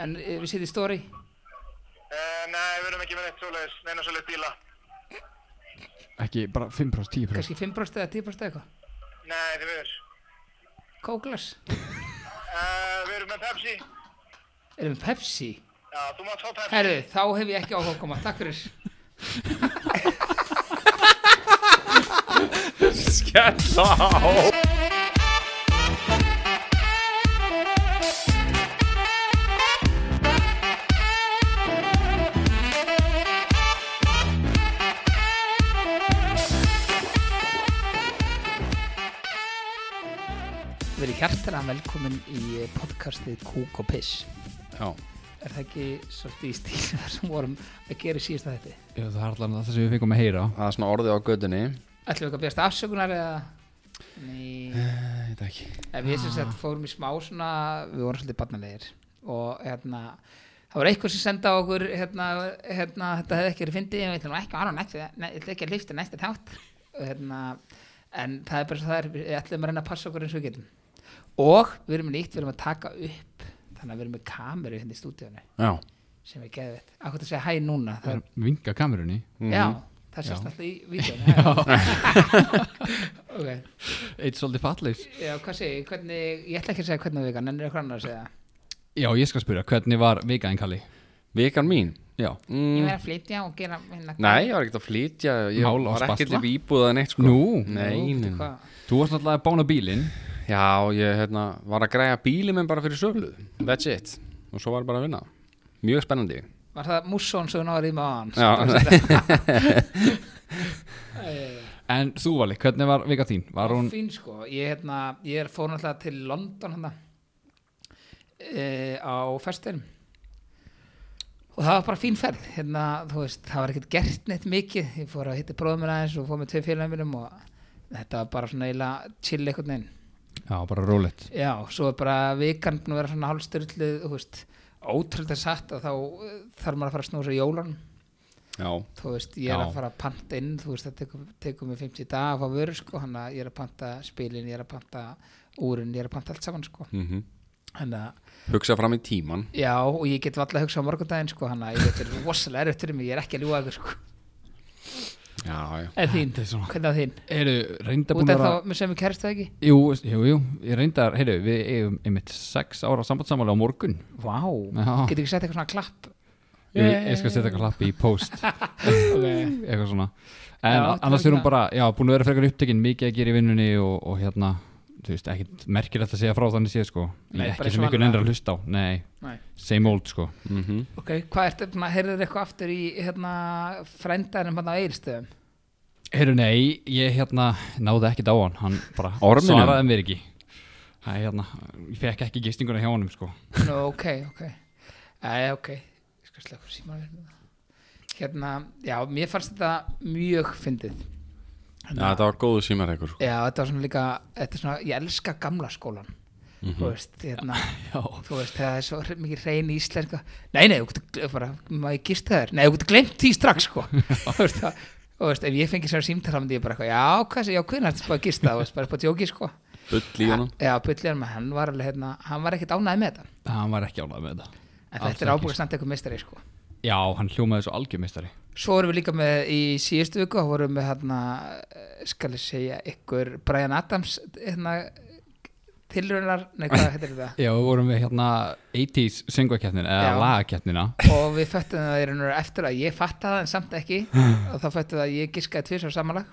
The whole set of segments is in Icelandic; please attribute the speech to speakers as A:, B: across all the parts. A: En eh, við setjum stóri.
B: Eh, nei, við erum ekki með neitt svoleiðis, neina svoleiðis bíla.
C: Ekki bara 5%, 10%.
A: Kanski 5% eða 10% eða eitthvað.
B: Nei, þið verður.
A: Kóklas.
B: Uh, við erum með Pepsi.
A: Erum við Pepsi?
B: Já, þú mátt fá Pepsi.
A: Herðu, þá hef ég ekki áhuga að koma. Takk fyrir.
D: Skella á
A: Verið hjartalega velkomin í podcastið Kúk og Piss.
C: Já.
A: Er það ekki svolítið í stíl þar sem vorum að gera í síðasta þetta?
D: Jú, það er allan það sem við fengum að heyra
C: Það er svona orðið á gödunni.
A: Ætlum við ekki að bjast afsökunar eða? Nei.
C: Eh, Ég veit ekki. Ah.
A: En við sem sagt fórum í smá svona, við vorum svolítið barnalegir og hérna, það var eitthvað sem senda á okkur, hérna, hérna þetta hefði ekki verið fyndið, ég ætlum ekki að vara á næstu, ne- ég ætlum ekki að lyfta næstu þátt. Og hérna, en það er bara svo það er, við ætlum að reyna að passa okkur eins og við getum. Og við erum með nýtt, við erum að taka upp, þannig að við erum með kameru hérna í stúdíónu
C: Já.
A: sem er geðvett. Akkur að segja hæ núna, það
D: Það
A: er
D: er vinga kamerunni
C: Mhm.
A: Já, það sést alltaf í vídjónu Ok,
D: Eitt svolítið fallis
A: já, hvað segi, ég? hvernig Ég ætla ekki að segja hvernig vikan, en er eitthvað annar að segja
D: Já, ég skal spyrja, hvernig var vikaðin Kalli?
C: Vikan mín.
D: Já,
A: Ég
C: Mm.
A: verð að flytja og gera hérna
C: Nei, ég var ekkert að flytja. Ég
D: Mál á
C: var ekkert
D: spasla?
C: upp íbúðað neitt sko.
D: Nú?
C: Nei, nei. nei.
A: Hvað?
D: þú varst náttúrulega að bána bílinn
C: Já, ég hérna, var að græja bíli minn bara fyrir söfluð. That's it. Og svo var bara að vinna. Mjög spennandi.
A: Var það Musson svo náður í maðan?
C: Já.
D: En þú Vali, hvernig var vika þín? Var hún,
A: Fín sko, ég, hérna, ég er fór náttúrulega til London hana, e, á festinum og það var bara fín ferð hérna, þú veist, það var ekkert gert neitt mikið ég fór að hitta bróðum aðeins og fór með tvei félagum mínum og þetta var bara svona eiginlega chill einhvern veginn
D: já, bara rólegt
A: Já, svo er bara vikan búin að vera svona hálfstyrlið, þú veist, ótrúlega satt og þá eh, þarf maður að fara að snúsa jólan.
C: Já.
A: Þú veist, ég er
D: Já.
A: að fara að panta inn, þú veist, það tekur, tekur mig 50 dag að fá vöru, sko, hann að ég er að panta spilin, ég er að panta úrin, ég er að panta allt saman, sko.
C: Mm
A: Hann að,
C: Hugsa fram í tíman.
A: já, og ég get valla að hugsa á morgundaginn, sko, hann að ég veit, þetta er rosalega erfitt fyrir mig, ég er ekki að ljúga ykkur, sko.
C: Já, já.
A: En þín,
D: Þetta er svona-
A: hvernig að þín?
D: Eru, reynda
A: Út
D: búin
A: af
D: að
A: þá, mér sem ég kærist það ekki?
D: Jú, jú, jú, ég reyndar, heyrðu, við eigum einmitt sex ára sambandsamála á morgun
A: Vá,
D: Já.
A: getur ekki sett eitthvað svona klapp?
D: Jú, ég, ég skal setja eitthvað hlappi í post
A: Ok.
D: eitthvað svona
A: Já,
D: En
A: þetta er
D: annars er hún
A: svona-
D: bara, já, búin að vera frekar upptekinn mikið að gera í vinnunni og, og hérna, þú veist, ekkit merkilegt að segja frá þannig séð, sko
A: Nei, bara
D: Ekki
A: eins
D: sem
A: og
D: einhvern
A: vanalega.
D: endur að hlusta á, nei,
A: Nei.
D: same old, sko
C: Mm
A: Ok, hvað ertu, svona, heyrðir eitthvað aftur í hérna, frændanum hérna á Egilstöðum?
D: Heyrðu, nei, ég hérna náði ekkit á hann, hann bara
C: Orminum?
D: svaraði mér ekki Æ, hérna, ég fekk ekki gistinguna hjá honum, sko
A: Nú, ok, ok. Æ, ok, ég skal slökka símanum. Hérna, já, mér fannst þetta mjög fyndið.
C: Já, þetta var góðu símar sko. eitthvað.
A: Já, þetta var svona líka, þetta er svona, ég elska gamla skólan.
C: Mhm.
A: Þú veist, hérna,
D: Já,
A: þú veist, þegar það er svo hre- mikið reyn íslenska. Nei, nei, þú getur gl- bara, maður ég gist það þér. Nei, þú getur glemt því strax, sko. Þú veist, það- þú veist, ef ég fengi sér símtarhamandi, ég bara eitthvað, já, hvað sé, já, hvernig er þetta bara að gista, þú veist, bara upp á djóki, sko.
C: Bull í honum.
A: Já, Björn með hann var alveg hérna, hann var ekkert ánæði með þetta
D: hann var ekki ánægð með þetta
A: en
D: Alls
A: þetta er
D: ekki,
A: ábúið að standa eitthvað mistari sko.
D: Já, hann hljómaði svo algjörmeistari
A: Svo vorum við líka með í síðustu viku þá vorum við hérna, eh, skal ég segja ykkur Brian Adams hérna, tilraunar, nei hvað heitir þetta
D: Já, við vorum við hérna 80s syngvakeppnin eða
A: Já.
D: lagakeppnina
A: og við föttum það í raun og veru eftir að ég fatta það en samt ekki og þá föttum við að ég giskaði tvisar samanlag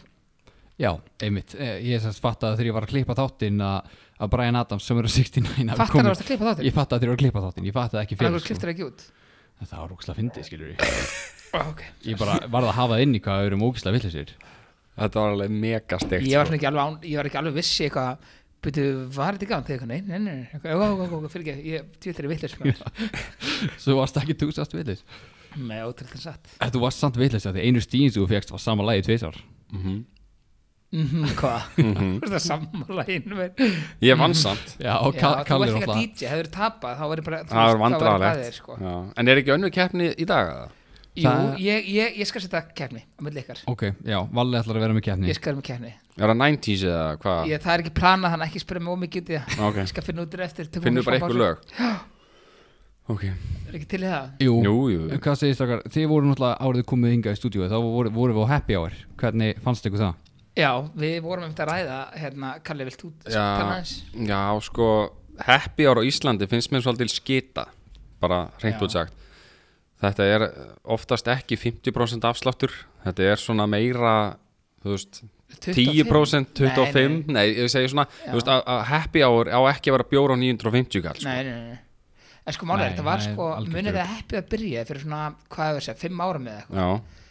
D: Já, einmitt, Eh, ég semst fattaði þegar ég var að klippa þáttinn að að Brian Adams sem eru 69 hafi
A: Fattar það
D: komið.
A: varst að klippa þáttinn?
D: Ég fattaði þegar ég var að klippa þáttinn, ég fattaði ekki
A: en
D: fyrir
A: það kliftur ekki út
D: En Það var ógislega fyndið, skilur ég
A: okay.
D: Ég bara varð að hafa það inn í hvað við erum ógislega villisir
C: Þetta var alveg mega sko. stegt.
A: ég, var svona ekki alveg, án, ég var ekki alveg vissi eitthvað Býtu, var þetta ekki án þegar eitthvað? Nei, nei, nei, nei, ok, ok, ok, ok, fyrir ekki, ég tvítir í sko. vitlis
D: Svo varst ekki þú sátt villis
A: með ótrúlega satt.
D: En þú varst samt villis að því einu stíðin sem þú fegst var sama lagi tvisar
A: Mhm, Hvað? Þú veist það sammála einu verð.
C: Ég vann samt.
D: Já, og
A: Já,
D: Ka-
A: þú
D: Kalli
A: ert líka
D: náttúrulega
A: DJ, hefur tapað, þá verður bara, þú
C: Það var
A: þá væri
C: vandrarlegt.
A: þér, sko.
C: Já. En er ekki önnu keppni í dag að það?
A: Jú,
D: Það-
A: ég, ég, ég skal setja keppni, á milli ykkar.
D: Ok, já, Valli ætlar að vera með keppni
A: Ég skal vera með keppni.
C: Er það 90s eða hvað?
A: Ég, það er ekki planað, þannig að ekki spyrja mig ómikið út í það.
C: Ok.
A: Ég skal finna út úr eftir. tökum
C: Finnum
A: smá
C: bara eitthvað
A: pásu.
C: lög. Ok
A: er ekki til í það
D: Jú,
C: Jú, jú.
D: En Hvað segir strákar, þið voru náttúrulega árið komið hingað í stúdíu Þá voru, voru við á happy hour Hvernig fannst ykkur það?
A: já, við vorum eftir að ræða hérna, Kalli, vilt þú tala
C: Já,
A: aðeins?
C: já, sko Happy Hour á Íslandi finnst mér svolítil skita bara
A: Já.
C: reynd út sagt Þetta er oftast ekki 50% afsláttur Þetta er svona meira þú veist,
A: 25?
C: 10% 25,
A: Nei,
C: nei, ég segi svona
A: Já.
C: þú veist, að, að Happy Hour á ekki að vera bjóra á 950 kall sko.
A: Nei, nei, nei, nei. En sko málega,
D: Nei,
A: þetta var
D: það er
A: sko,
D: algjört
A: munið
D: rugl.
A: það heppið að byrja fyrir svona, hvað hefur segja, fimm ára með eitthvað.
C: Já,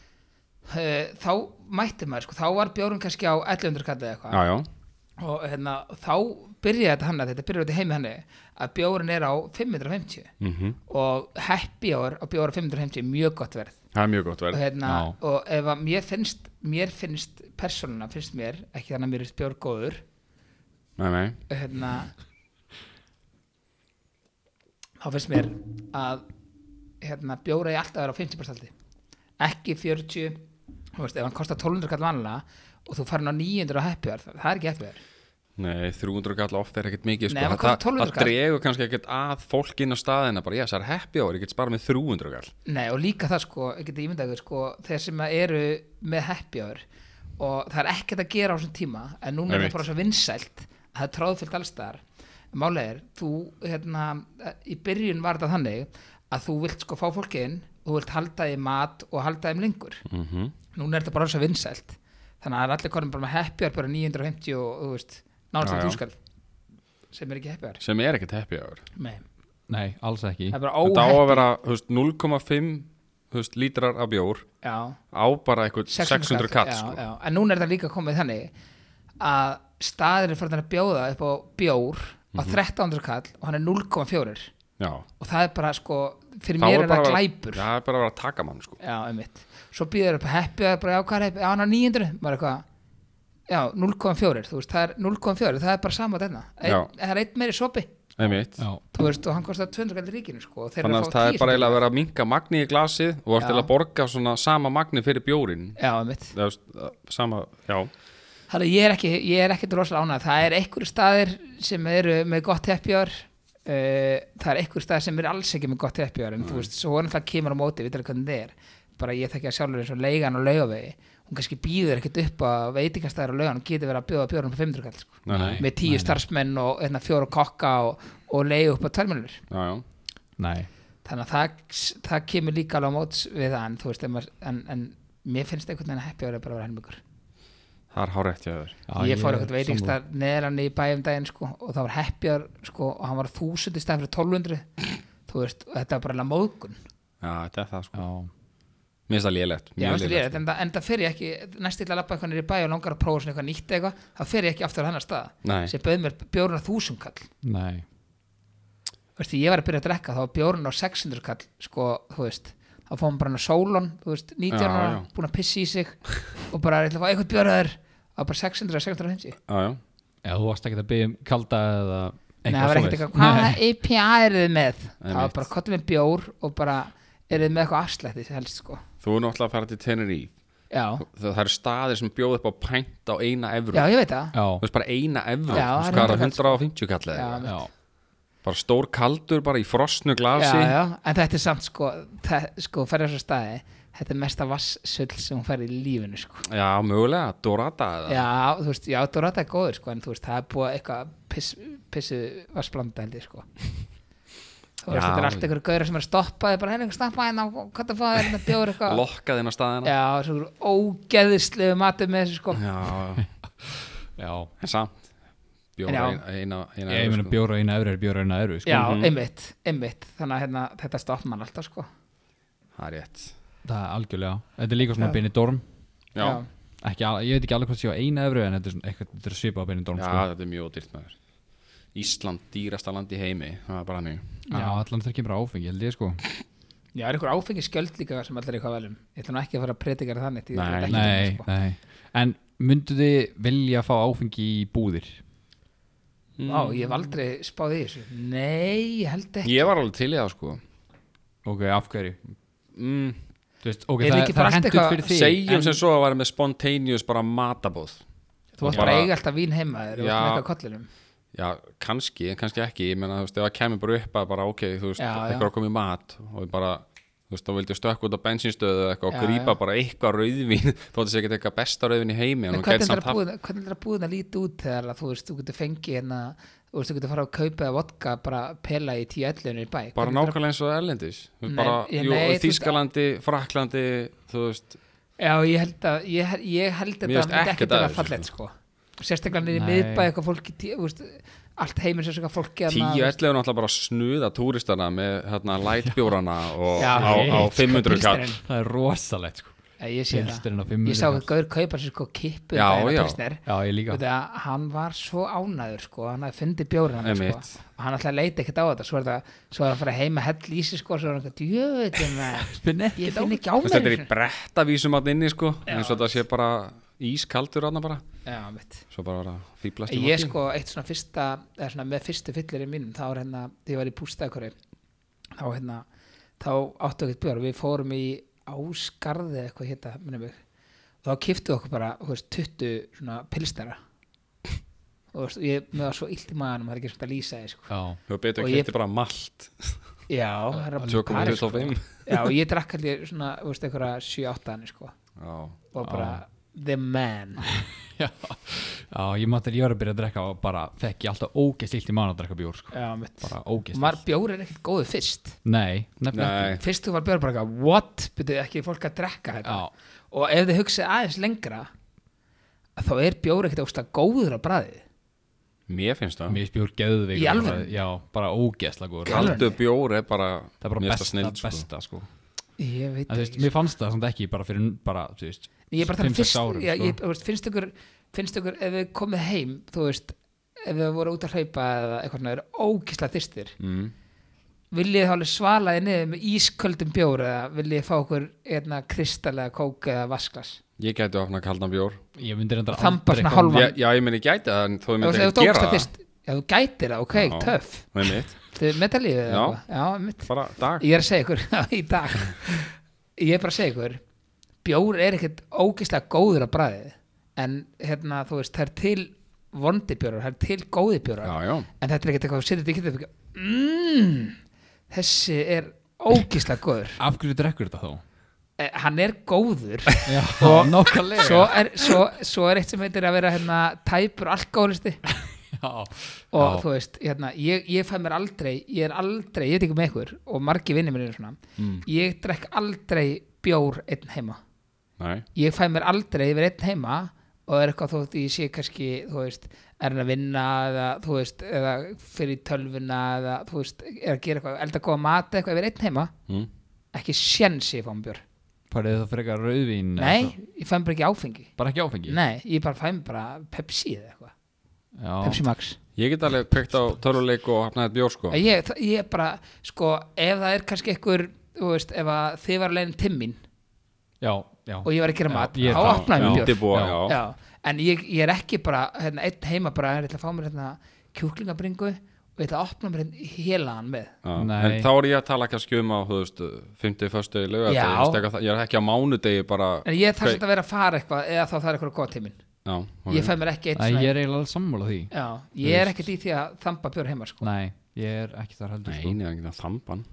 A: Eh, Þá mætti maður, sko, þá var bjórun kannski á 1100 kallið eitthvað.
C: já, já,
A: Og hérna, þá byrjaði þetta hann að þetta byrjaði þetta heimi hann að bjórun er á 550
C: mhm
A: og happy hour á bjóra 550 er mjög gott verð.
C: Það er mjög gott
A: Og
C: verð
A: hérna,
D: Já.
A: og ef að mér finnst, mér finnst persónuna, finnst mér, ekki þannig að mér finnst bjór góður,
C: Nei, nei,
A: hérna þá finnst mér að hérna, bjóra ég alltaf að vera á 50% aldi. ekki 40 þú veist, ef hann kostar 1200 kall vanlega og þú farin á 900 á heppiðar það er ekki heppiðar
C: nei 300 kall ofta er ekkert mikið
A: Nei, það
C: Þetta-
A: kostar 1200
C: Það dregur kannski ekkert að fólk inn á staðina bara, já, það er happy hour, ég get spara með 300 kall
A: Nei, og líka það sko, ég geti ímyndað ykkur sko, þeir sem eru með heppiðar og það er ekkert að gera á þessum tíma en núna er
C: Einmitt.
A: það bara svo vinsælt að það er tráðfyllt allstaðar Málega er, þú, hérna, í byrjun var þetta þannig að þú vilt sko fá fólki inn og þú vilt halda þeim mat og halda þeim lengur
C: mm -hmm.
A: núna er þetta bara svo vinsælt þannig að það er allir konum bara með happy hour bara 950 og þú veist,
C: Já,
A: náttúrulega
C: já.
A: túskall sem er ekki happy hour
C: sem er ekkert happy hour
A: Nei,
D: Nei, alls ekki
A: það er bara
C: þetta á að
A: óhappy
C: vera þú veist, 0,5 þú veist, lítrar af bjór
A: Já,
C: á bara eitthvað 600 katt
A: já,
C: sko.
A: já. en núna er það líka komið þannig að staðir er farin að bjóða upp á bjór á
C: Mhm.
A: 1300 kall og hann er 0,4
C: Já.
A: og það er bara sko fyrir
C: Þá
A: mér er
C: bara
A: það
C: að vera-
A: glæpur
C: Já, það er bara að vera að taka mann sko.
A: já, einmitt svo býður upp að heppi að bara já, hvað er heppi, já, hann er 900 maður eitthvað já, 0,4, þú veist, það er 0,4 það er bara sama þarna,
C: Já.
A: Einn- það er einn meiri sopi
C: Einmitt.
D: Já,
A: þú veist, og hann kostar 200 kall í ríkinu sko, og þeir eru
C: þannig
A: að
C: að
A: fá
C: það
A: 10
C: er bara
A: sem-
C: eiginlega að vera að minka magni í glasið og vart
A: Já.
C: eiginlega að borga svona sama magni fyrir bjórin
A: já, einmitt
C: Það veist, sama, já,
A: Þannig að ég er ekki, ég er ekki droslega ánað. Það er einhverju staðir sem eru með gott heppjör, uh, það er einhverju staðir sem eru alls ekki með gott heppjör, en þú veist, svo er náttúrulega kemur á móti, við talaðum hvernig það er. Bara ég þekki að sjálfur eins og leigan og laugavegi, hún kannski býður ekkert upp að veitingastæðar og laugan og getur verið að bjóða björnum på 500 kall, sko.
C: nei, nei.
A: með tíu
D: nei.
A: starfsmenn og hérna, fjóra kokka og, og leigu upp á tvermjölur.
C: Já, já.
D: nei
A: Þannig að það, það kemur líka alveg á móts við það, en þú veist, en, en, en mér finnst einhvern veginn að heppjör er bara að vera helmingur.
C: það er hárétt hjá þér
D: Já,
A: ég fór
D: er
A: eitthvað
D: sammála.
A: veitingstað neðan í bæjum daginn sko, og það var heppjar sko, og hann var þúsund í stað fyrir 1200 þú veist, og þetta var bara alveg móðgun
C: Já, þetta er það sko
D: Já,
C: Mér finnst það lélegt
A: Já,
C: mjög sko.
A: veistu,
C: lélegt.
A: lélegt, en, það, en það fer ég ekki næst illa að labba eitthvað nýri bæ og langar að prófa svona eitthvað nýtt eitthvað þá fer ég ekki aftur á hennar stað
C: Nei.
A: sem bauð mér bjórun á þúsund kall
D: nei
A: Veistu, ég var að byrja að drekka þá var bjórun á 600 kall sko, þú veist þá fóðum bara hann á sólon, þú veist, 19
C: Já,
A: ára
C: já.
A: búin að pissa í sig og bara ætla að fá eitthvað bjóraður á bara 600 eða 650
C: Já, já,
D: Eða þú varst ekkert að byggja um kalda eða
A: Nei, það var ekkert
D: svoleiðis.
A: eitthvað, hvaða IPA eru þið með? Það var
C: Einmitt.
A: bara, kottum við bjór og bara, eru þið með eitthvað afslætti sem helst, sko.
C: þú er náttúrulega að fara til Tenerife
A: Já,
C: það, það eru staðir sem bjóð upp á pænt á eina evru
A: já, ég veit það.
C: þú
D: Já,
C: veist bara eina evru
A: Já,
C: þú
A: það
C: veist hvað
A: er
C: er það, 150 kall eða eitthvað?
A: Já,
D: já,
C: bara stór kaldur bara í frosnu
A: Já,
C: glasi
A: já, en þetta er samt, sko, það, sko, ferði á svo staði, þetta er mesta vassull sem hún ferði í lífinu, sko.
C: já mögulega, dorata eða
A: Já, þú veist, já, Dorota er góður, sko, en þú veist, það er búið eitthvað piss, pissu vassblanda, held ég, sko. Þú veist,
C: Já.
A: þetta er allt einhverju gauður sem er að stoppa, þið bara, henni, stoppa hérna, hvað það fáið, hérna, bjór eitthvað.
C: lokkað inn á staðina
A: Já, svo ógeðislegu matur með þessu, sko.
C: já,
D: já
C: en samt
A: En
C: bjóð
A: já.
C: eina, eina, eina
D: Ég
C: evru,
D: meina
C: sko. Mhm.
D: bjóra eina öðru er bjóra eina öðru sko.
A: Já, einmitt, einmitt þannig að hérna, þetta stopp mann alltaf sko
C: það er rétt
D: Það er algjörlega Þetta er líka svona
A: Já.
D: Benidorm
C: já, já.
D: ekki, al- Ég veit ekki alveg hvað sé á eina öðru en þetta er, svona eitthvað, þetta er svipað á Benidorm sko.
C: þetta er mjög dyrt maður Ísland, dýrasta land í heimi það er bara hann
D: Já, allan þeir kemur áfengi held ég sko
A: Já, er einhver áfengi skjöld líka sem allir eitthvað velum Ég ætla nú ekki að fara að predika það neitt ég ætla ekki
C: Nei.
A: að dæma,
D: Nei,
A: sko.
D: nei En myndu þið vilja fá áfengi í búðir?
C: Mm.
A: Vá, ég hef aldrei spáð í þessu Nei, ég held ekki
C: ég var alveg til í það sko
D: Ok, af hverju?
C: mm,
D: Þú Veist, ok,
A: Er
D: það,
A: ekki
D: það
A: bara
D: er
A: allt
D: hendut
A: eitthvað-
D: fyrir þig
C: segjum
D: en-
C: sem svo að vera með spontaneous bara matabóð
A: Þú átt
C: Bara-
A: bara að eiga alltaf vín heima þér og
C: Já.
A: með eitthvað kollinum
C: já, kannski, en kannski ekki ég menna, þú veist, ef það kemur bara upp að bara ok þú veist,
A: Já, já.
C: eitthvað komið mat og við bara, þú veist, þá vildi ég stökk út á bensinstöðu eða
A: Já,
C: eitthvað og grípa
A: já.
C: bara eitthvað rauðvín þó að það sé ekki eitthvað besta rauðvín í heimi en
A: En
C: hún
A: hvernig
C: gæti
A: heldur að
C: samt haft
A: búðin- hvernig heldur að búðin að líti út þegar að þú veist, þú getur fengið hérna, þú veist, þú getur fara að kaupa eða vodka bara pela í tíu ellunni í bæ Hvernig
C: bara
A: heldur að-
C: nákvæmlega eins og erlendis Þú veist,
A: Nei,
C: bara,
A: ég-
C: jú,
A: nei,
C: nei,
A: þú- Hérna,
C: Þískalandi, Fraklandi þú veist,
A: Já, ég held að ég, hel- ég held að
C: Mér
A: það
C: finnst
A: myndi
C: ekkert
A: ekkert
C: að
A: vera
C: þessu,
A: fallegt sko Sérstaklega niður í
D: Nei.
A: miðbæ eitthvað fólki tí- þú veist, allt heimur sem svona fólki hérna,
C: tíu ellefu náttúrulega bara að snuða túristana með hérna lightbjórana og
A: Já,
C: á, á
A: sko,
C: 500 kall
A: pilsnerinn.
D: það er rosalegt sko.
A: Já, Ég sé
D: Pilsnerinn á
A: það
D: 500
A: Ég sá
D: kall.
A: að Gaur kaupa sér sko kippu
C: Já,
A: daginn á
C: já.
A: Pilsner.
D: já, ég líka
A: Þú veit að hann var svo ánæður sko, hann hafði fundið bjórið hann sko,
C: Einmitt.
A: og hann ætlaði að leita ekkert á þetta svo er það, svo er það að fara heima hell í sig sko, svo er hann eitthvað, djöðum
D: Finn ekki
A: ég finn ekki á
C: Þú
A: mér
C: veist, þetta er í
A: þessu."
C: brettavísum að inni sko,
A: Já.
C: eins og þetta sé bara ískaldur aðna bara
A: Já, mitt.
C: svo bara var að fýblast í
A: ég
C: vatni.
A: sko, eitt svona fyrsta eða svona með fyrstu fyllirinn mínum þá er hérna, þegar ég var í bústæðakori þá hérna, þá áttu ekkert bjór við fórum í Ásgarði eða eitthvað hérna, minnum mig og þá kiftuðu okkur bara, þú veist, 20 svona pilstara og þú veist, ég með var svo illt í maðanum það er ekki svona að lýsa því, sko
D: já,
C: Þú betur
A: Og
C: ekki
A: ég-
C: þetta bara malt
A: já, það er bara París, sko.
C: 2.25
A: já, og ég drakk allir svona, þú veist, einhverja 7-8 hann, sko
C: Já,
A: og bara, the man
D: já, já ég mátti að ég var að byrja að drekka og bara fekk ég alltaf ógeðslilt í mánu að drekka bjór sko.
A: já, mitt
D: bara
A: og
D: ógeðslilt
A: maður bjór er ekkert góðu fyrst
D: nei, nefnilega
C: nei,
D: ekki
A: fyrst þú var bjór bara eitthvað, what, byrju ekki fólk að drekka þetta
D: já,
A: og ef þið hugsið aðeins lengra að þá er bjór ekkert ósta góður á bræði
C: mér finnst það
D: mér spjór geðvig
A: Í alvöru?
D: já, bara ógeðsla góður
A: Kall-
C: Kaldur bjór er bara
D: það er bara
C: mér finnst
D: besta,
C: snild, sko.
D: besta sko.
A: ég veit
D: en, þú veist,
A: ekki
D: mér fannst það samt ekki bara fyrir bara, þú veist,
A: ég er bara þannig
D: 5-6
A: fyrst
D: árum,
A: já,
D: sko.
A: ég, þú veist, finnst ykkur finnst ykkur ef við komið heim þú veist ef við voru út að hlaupa eða eitthvað svona er ókisla þyrstir
C: mm.
A: viljið þið þá alveg svalaði niður með ísköldum bjór eða viljið þið fá okkur einna kristallega kók eða vasklas
C: Ég gæti að opna kaldan bjór
D: ég myndi reyndar
A: Þamba
D: aldrei
A: svona
D: koma-
A: hálfan.
C: Já, já, ég meni gæti það en þó ég
A: Þú veist, ef
C: myndi ekki
A: þú
C: gera
A: ókisla
C: það
A: þyrst ef þú gætir það, ok,
C: Já.
A: töff
C: Nei, mitt,
A: þið metalífið
C: Já.
A: eða eitthvað já, mitt
C: bara dag
A: ég er að segja ykkur í dag ég er bara að segja ykkur bjór er ekkert ógeðslega góður að bræði en hérna þú veist það er til vondi bjórar, það er til góði bjórar
C: Já, já,
A: en þetta er ekkert eitthvað, þú setur þetta ekki þetta mmm, þessi er ógeðslega góður
D: af hverju drekkur þetta þá?
A: Eh, hann er góður
D: já,
A: Og-
D: nokkalega
A: svo er, svo, svo er eitt sem heitir að vera hérna tæpur alkoholisti og þú veist, hérna, ég, ég fæ mér aldrei ég er aldrei, ég veit ekki með ykkur og margi vinni minni svona
D: Mm.
A: ég drekk aldrei bjór einn heima
C: nei
A: ég fæ mér aldrei yfir einn heima og er eitthvað þótt ég sé kannski þú veist, er hann að vinna eða þú veist, eða fyrir tölvuna eða þú veist, er að gera eitthvað elda góða mat eða eitthvað yfir einn heima
C: mm.
A: ekki sjens ég fá mér bjór
D: Parið það frekar rauðvín eða
A: nei,
D: eitthvað?
A: ég fæ mér ekki áfengi
D: Bara ekki áfengi?
A: nei, ég bara fæ mér bara Pepsi eða eitthvað
D: Já,
A: Pepsi Max
C: Ég get alveg kveikt á töruleik og opna þetta bjór sko
A: Að ég, það- ég bara, sko, ef það er kannski einhver, þú veist, ef að þið var leiðin timmin
D: já, já
A: og ég var að gera
D: Já,
A: mat,
D: ég er
A: þá
D: það.
A: opnaði mér bjór
C: Útibúa,
D: Já.
C: já,
A: já, en ég, ég er ekki bara hérna, einn heima bara, ég ætla að fá mér hérna, kjúklingabringu og ég ætla að opna mér hérna, hélagan með
C: Já,
D: Nei.
C: en þá er ég að tala ekki að skjuma á, þú veist, 50, 1. lögadegi,
A: Já.
C: ég veist eitthvað það- ég er ekki á mánudegi bara,
A: en ég þarf
C: Ok.
A: samt að vera að fara eitthvað eða þá það er eitthvað góð tímin
C: já, ok.
A: ég fæ mér ekki eitt
D: Æ, ég er eiginlega alveg sammála því
A: já, ég er ekkert í því að þamba bjór heima sko.
D: Nei, ég er ekki þar heldur sko.
C: Nei, neða ekki það þamban.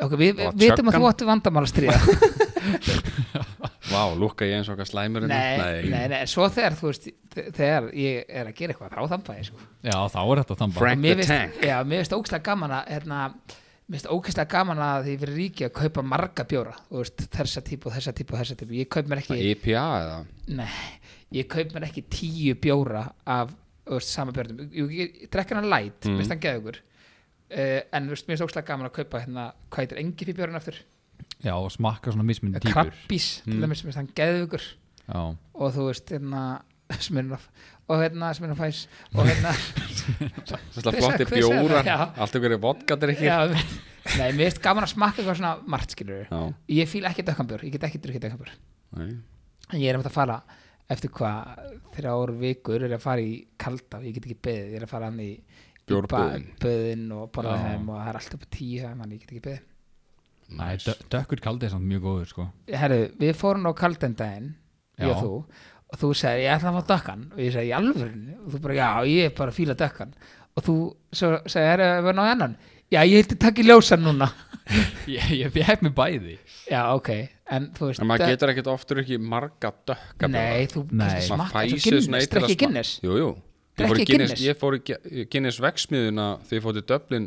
A: ok, við
C: Og
A: við vitum að
C: tjöggan.
A: þú áttu vandamál að stríða
C: Vá, lúkka ég eins og okkar slæmur hérna?
A: nei, nei, nei, en svo þegar þú veist, þe- þegar ég er að gera eitthvað þá þamba ég sko
D: sko. Já, þá er þetta þamba
C: Frank-
A: Og
C: the
A: mér finnst-
C: Tank.
A: já, mér finnst ógæslega gaman að hérna, mér finnst ógæslega gaman að því fyrir ríki að kaupa marga bjóra þú veist, þessa típu, þessa típu, þessa típu ég kaup mér
C: Það
A: ekki,
C: IPA E eða?
A: nei, ég kaup mér ekki tíu bjóra af þú veist, sama björnum, ég, ég, ég drekka hann light
C: Mhm.
A: mm. veist hann geða ykkur Uh, en þú veist, mér finnst ógstlega gaman að kaupa hérna, hvað heitir engi fyrir björn aftur Eh,
D: Já, og smakka svona mismunni típur
A: krabbís, til dæmis, mér finnst hann geðugur
D: Já,
A: og þú veist, hérna Smirnoff, og hérna Smirnoff Ice og hérna
C: Svona
A: Hver
C: flotti
A: sagði- hver sagði
C: bjórar,
A: það? Já.
C: allt ykkur er vodkadrykki.
A: já, nei, mér finnst gaman að smakka eitthvað svona margt skilur
C: Já,
A: ég fíl ekki dökkambjör, ég get ekki drukkið dökkambjör
C: nei.
A: en ég er um að fara eftir hvað þrjár vikur er ég að fara í kalda og ég get ekki beðið, ég er að fara hann í
C: Bjórbúðin.
A: böðin og borða
D: Já.
A: þeim og það er allt upp á tíu en ég get ekki beðið
D: Nei, dö- dökkur kaldi er samt mjög góður sko
A: Herru, við fórum á kaldan daginn ég og
D: Já.
A: þú og þú sagði ég ætla að fá dökkan og ég sagði í alvörinu og þú bara já ég er bara að fíla dökkan og þú svo segir að við náðu annan já ég hildi takk í ljósan núna
D: Ég, ég fekk mér bæði
A: já ok, en þú veist
C: En maður
A: það-
C: getur ekkert oftur ekki marga dökka
A: nei, þú kannski
D: Nei. Maður
A: smakka
C: fæsir
A: svo
C: svona
A: Guinness,
C: eitt til að
A: drekki Guinness
C: Jú, jú Ég fór,
A: Drekki
C: í Guinness,
A: Guinness.
C: ég fór í Ge- Guinness vegsmiðuna þegar ég fór til Dublin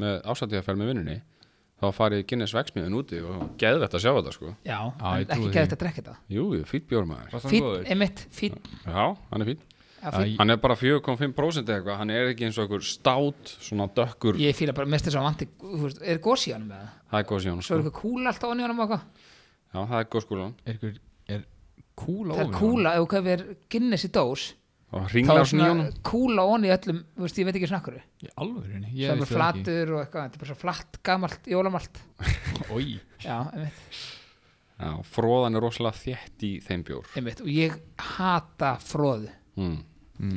C: með ásatíðaferð með vinnunni þá farið í Guinness vegsmiðun úti og geðvett að sjá þetta sko
A: já,
D: Já,
A: en
D: ég
A: ekki
D: trúi
A: geða
D: því.
A: þetta að drekka þetta
C: Jú, jú, fýtt bjór maður
D: Varst hann
A: fín,
D: góður?
A: einmitt, fín
C: Já, hann er fín
A: já, fín.
D: Æ.
C: Hann er bara 4,5% eða eitthvað, hann er ekki eins og einhver stát, svona dökkur
A: ég fýla bara, mest þess að vanti þú veist, er gósi í honum eða?
C: Það er góð
A: svo
C: síðan sko.
A: er eitthvað kúla alltaf onni honum og eitthvað
C: Já, það er góð skólan
D: Er, ykkur- er kúla
A: það er
D: ofan í honum?
A: kúla, ef þú kaupir Guinness í dós
C: Og
A: þá
C: hringlar
A: er
C: svona í
A: svona
C: honum
A: kúla onni í öllum, þú veist, ég veit ekki svona hverju
D: Í alvörunni,
A: svo er
D: ég
A: bara
D: vissi það ekki
A: flatur og eitthvað, þetta er bara svo flatt, gamalt, jólamalt
D: Ói,
A: já, einmitt,
C: Já, fróðan er rosalega þétt í þeim bjór
A: einmitt og ég hata fróðu
C: mm.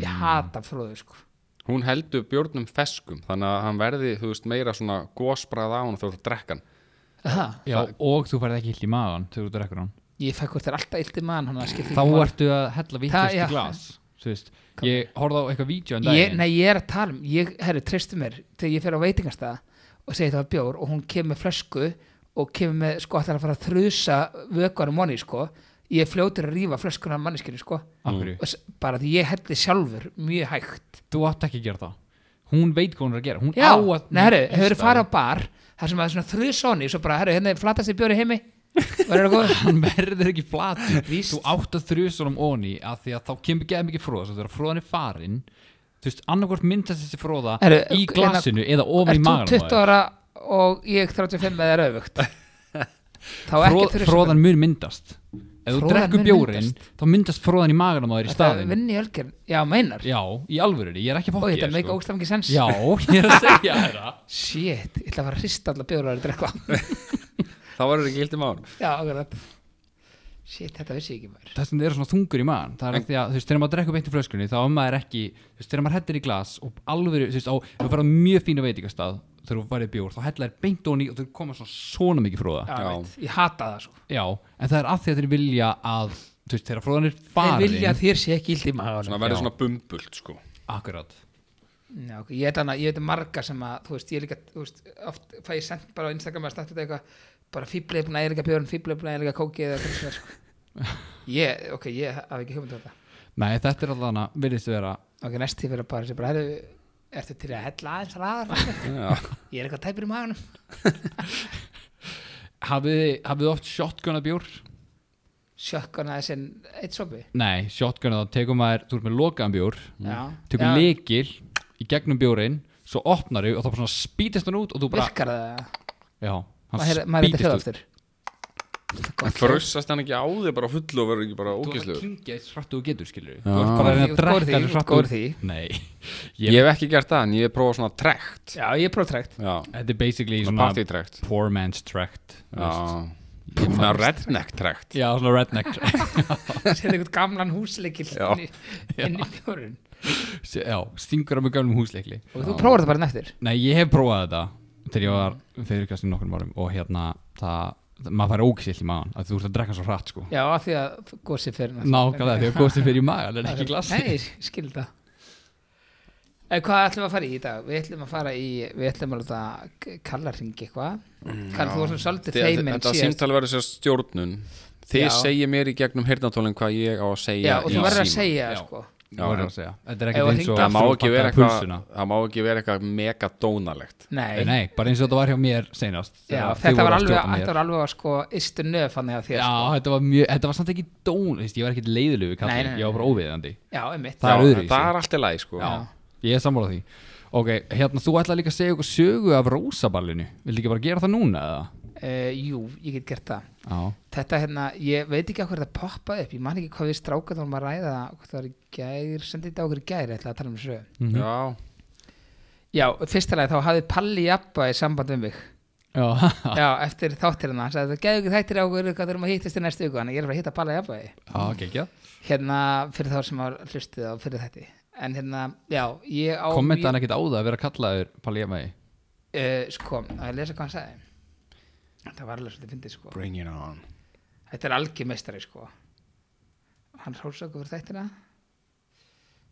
A: ég hata fróðu, sko
C: Hún heldur bjórnum feskum þannig að hann verði, þú veist, meira svona gósbrað á hann þú ert að drekka hann
A: það,
D: já, og þú færði ekki hilt í magan þegar þú drekkur hann
A: ég fæk hvort er alltaf illt í maðan hann, það skiptir
D: Þá
A: ekki máli.
D: ertu að hella
A: Það-
D: vittust
A: já.
D: í glas Þú veist, ég horfði á eitthvað vídeo en
A: ég,
D: daginn
A: nei, ég er að tala um, ég, herru, treystu mér þegar ég fer á veitingastæða og segi það var bjór og hún kemur með flösku og kemur með, sko, ætlar að fara að þrusa vökvarum manni, sko ég er fljótur að rífa flöskuna af manneskinni, sko
D: Af hverju?
A: Og s- bara því ég helli sjálfur mjög hægt
D: Þú átt ekki að gera það Hún veit hvað hún er að gera Hún
A: já,
D: á að
A: nei, herru, hefur farið á bar þar sem að svona þrusa honni, svo bara, herru, hérna er flatast í bjóri heimi verður það góð
D: Hann verður ekki flatur
A: Víst.
D: Þú átt að þrjusa honum onni að því að þá kemur geð mikið fróða Svo þegar fróðan er farin Þú veist, annarkvort myndast þessi fróða
A: Herru,
D: í
A: hérna,
D: glasinu eða ofan í
A: Ert þú 20
D: maganum á þér.
A: ára og ég 35 eða er öfugt Þá ekki
D: Fróð,
A: þrisvar.
D: Fróðan mun myndast Ef þú
A: Froðan
D: drekkur
A: mun
D: bjórin,
A: myndast.
D: þá myndast fróðan í maganum á þér í
A: Þetta
D: staðin
A: vinn í ölgerð, já meinar
D: Já, í alvörunni, ég er ekki
A: Og
D: fokkið
A: þetta meika ógstafengi sens
D: sko. Já, ég er að segja þér það
A: Shit, ég ætla að fara að hrista alla bjóður að drekka
C: Þá verður ekki hildi máður
A: Já, akkurat Shit, þetta vissi ég ekki maður
D: þess að það eru svona þungur í maðan það er en, því að þú veist, þegar maður drekkur beint í flöskunni þá er maður ekki, þú veist, þegar maður hellir í glas og alveg, þú veist, á, ef þú farað mjög fína veitingastað þegar þú farið í bjór, þá hellar þér beint ofan í og þú koma svona svona mikið fróða
A: Já,
C: Já.
A: já. Ég hata það sko. svo
D: já, en það er af því að þeir vilja að þú veist, þegar fróðan er
A: Þeir
D: farin
A: vilja að þér sé ekki illt í maður
C: Svona verður svona bumbult, sko
D: akkurat,
A: Já, ok, ég veit hana, ég veit um marga sem að þú veist, ég er líka, þú veist, oft fæ ég sent bara á Instagram að starta þetta eitthvað bara fíblið búin að eða björn, fíblið búin að eða kókið eða hvernig sem er sko Ég, ok, ég hafi ekki hugmynd á þetta
D: nei, þetta er allan að virðist vera,
A: ok, næst því fyrir bara, sem bara herru, ertu til að hella aðeins raðar
C: Já,
A: ég er eitthvað tæpur í maganum
D: hafið þið- hafið þið oft shotgunna bjór?
A: sjökkun aðeins en eitt sopi
D: nei, shotgunna þá tekum maður, þú ert með lokaðan bjór
A: Já.
D: tekur
A: Já.
D: lykil í gegnum bjórin svo opnar þau og þá bara svona spýtist hann út og þú bara,
A: virkar það,
D: já, hann
A: maður heyrir- maður er þetta hljóð
D: út
A: aftur
C: en frussast hann ekki á þig bara á fullu og verður ekki bara
D: þú ert að
C: ógislegur
D: klingja eins hrættu og þú getur skilur
C: Já.
D: þú ert bara að
A: Þú
D: reyna að
A: ert góður í því,
D: drekka
A: þú
D: eins
A: ert
D: hratt og-
A: góður í því.
D: nei,
C: Ég
D: ég,
C: hef ekki gert það, en ég hef prófað svona trekt
A: já, ég er próftrækt
C: Já,
D: þetta er basically
C: svona
D: svona
C: partytrekt
D: poor man's tract þú
C: Já,
D: veist.
C: svona redneck trekt
D: já, svona redneck tract.
A: sér eitthvað gamlan húsleikil
C: Já.
A: inn í, inn í bjórun
D: já, stingur á mig gamlum húsleikli
A: og þú prófar það bara neftir
D: nei, ég hef prófað þetta þegar ég var fyrir kastin nokkrum árum og hérna, það, það- maður fær ógisill í maðan að þú ert að drekka svo hratt sko
A: já, af því að gósi fyrir
D: nákvæmlega, því að góðstum fyrir í maðan en ekki í glassi
A: nei, ég skil það En hvað ætlum við að fara í í dag? Við ætlum að fara í, við ætlum að láta kallarringi eitthvað. Kallar þú svona svolítið feiminn
C: Þetta símtal verður sér stjórnun Þið
A: Já.
C: segja mér í gegnum hirnatólinn hvað ég á að segja
A: Já, og þú
C: í
A: verður að
C: símann.
A: segja,
D: Já.
A: sko.
D: Já,
C: Já,
D: verður
C: en-
D: að segja. Þetta er
A: Ef
D: ekkert
A: að
D: eins og
A: hringja
C: það má ekki vera
D: pakkaði
C: eitthvað
D: pulsuna.
C: það má ekki vera eitthvað mega dónalegt
A: Nei.
D: Nei, bara eins og þetta var hjá mér seinast
A: Já,
D: þegar þið
A: þetta var
D: voruð að
A: alveg,
D: stjórna mér.
A: þetta var alveg að sko ystu nöf hann eða þér
D: Já,
A: sko.
D: þetta var mjög, þetta var samt ekki dón veist, Ég var ekkert leiðilegu við
A: Nei,
D: kallið,
A: nei, nei.
D: ég var bara óviðandi
A: Já, einmitt
D: Það er
C: Já,
D: öðruvísi.
C: það er allt í lagi sko
D: Já, ég er sammála því Ok, hérna, þú ætlaði líka að segja okkur sögu af rósaballinu Vildi ekki bara gera það núna eða?
A: uh, Jú, ég get gert það
D: Já,
A: Þetta hérna, ég veit ekki að hvað þetta poppaði upp Ég man ekki hvað við stráka þá um að ræða það, Hvort það var í gær, sendið þetta okkur í gær Ég ætla að tala um þessu
D: Mhm.
C: Já,
A: Já, fyrstilega þá hafði Palli Jabba í samband við mig
D: já,
A: Já, eftir þáttirina Hann sagði, það geðu ekki þættir á okkur Hvað þurfum að hittast í næstu viku Þannig að ég er að fara að hitta Palli Jabba
D: já geggjað
A: Hérna, fyrir þá sem að hlustið á fyrir þetta En hérna, já, ég á
D: Kommenta hann ekkert á það að vera kallaður Palli Jemæi
A: uh, sko, að lesa hvað hann sagði þetta var alveg svolítið fyndið sko
C: bring it on
A: þetta er algjör meistari sko hann hrósa okkur fyrir þættina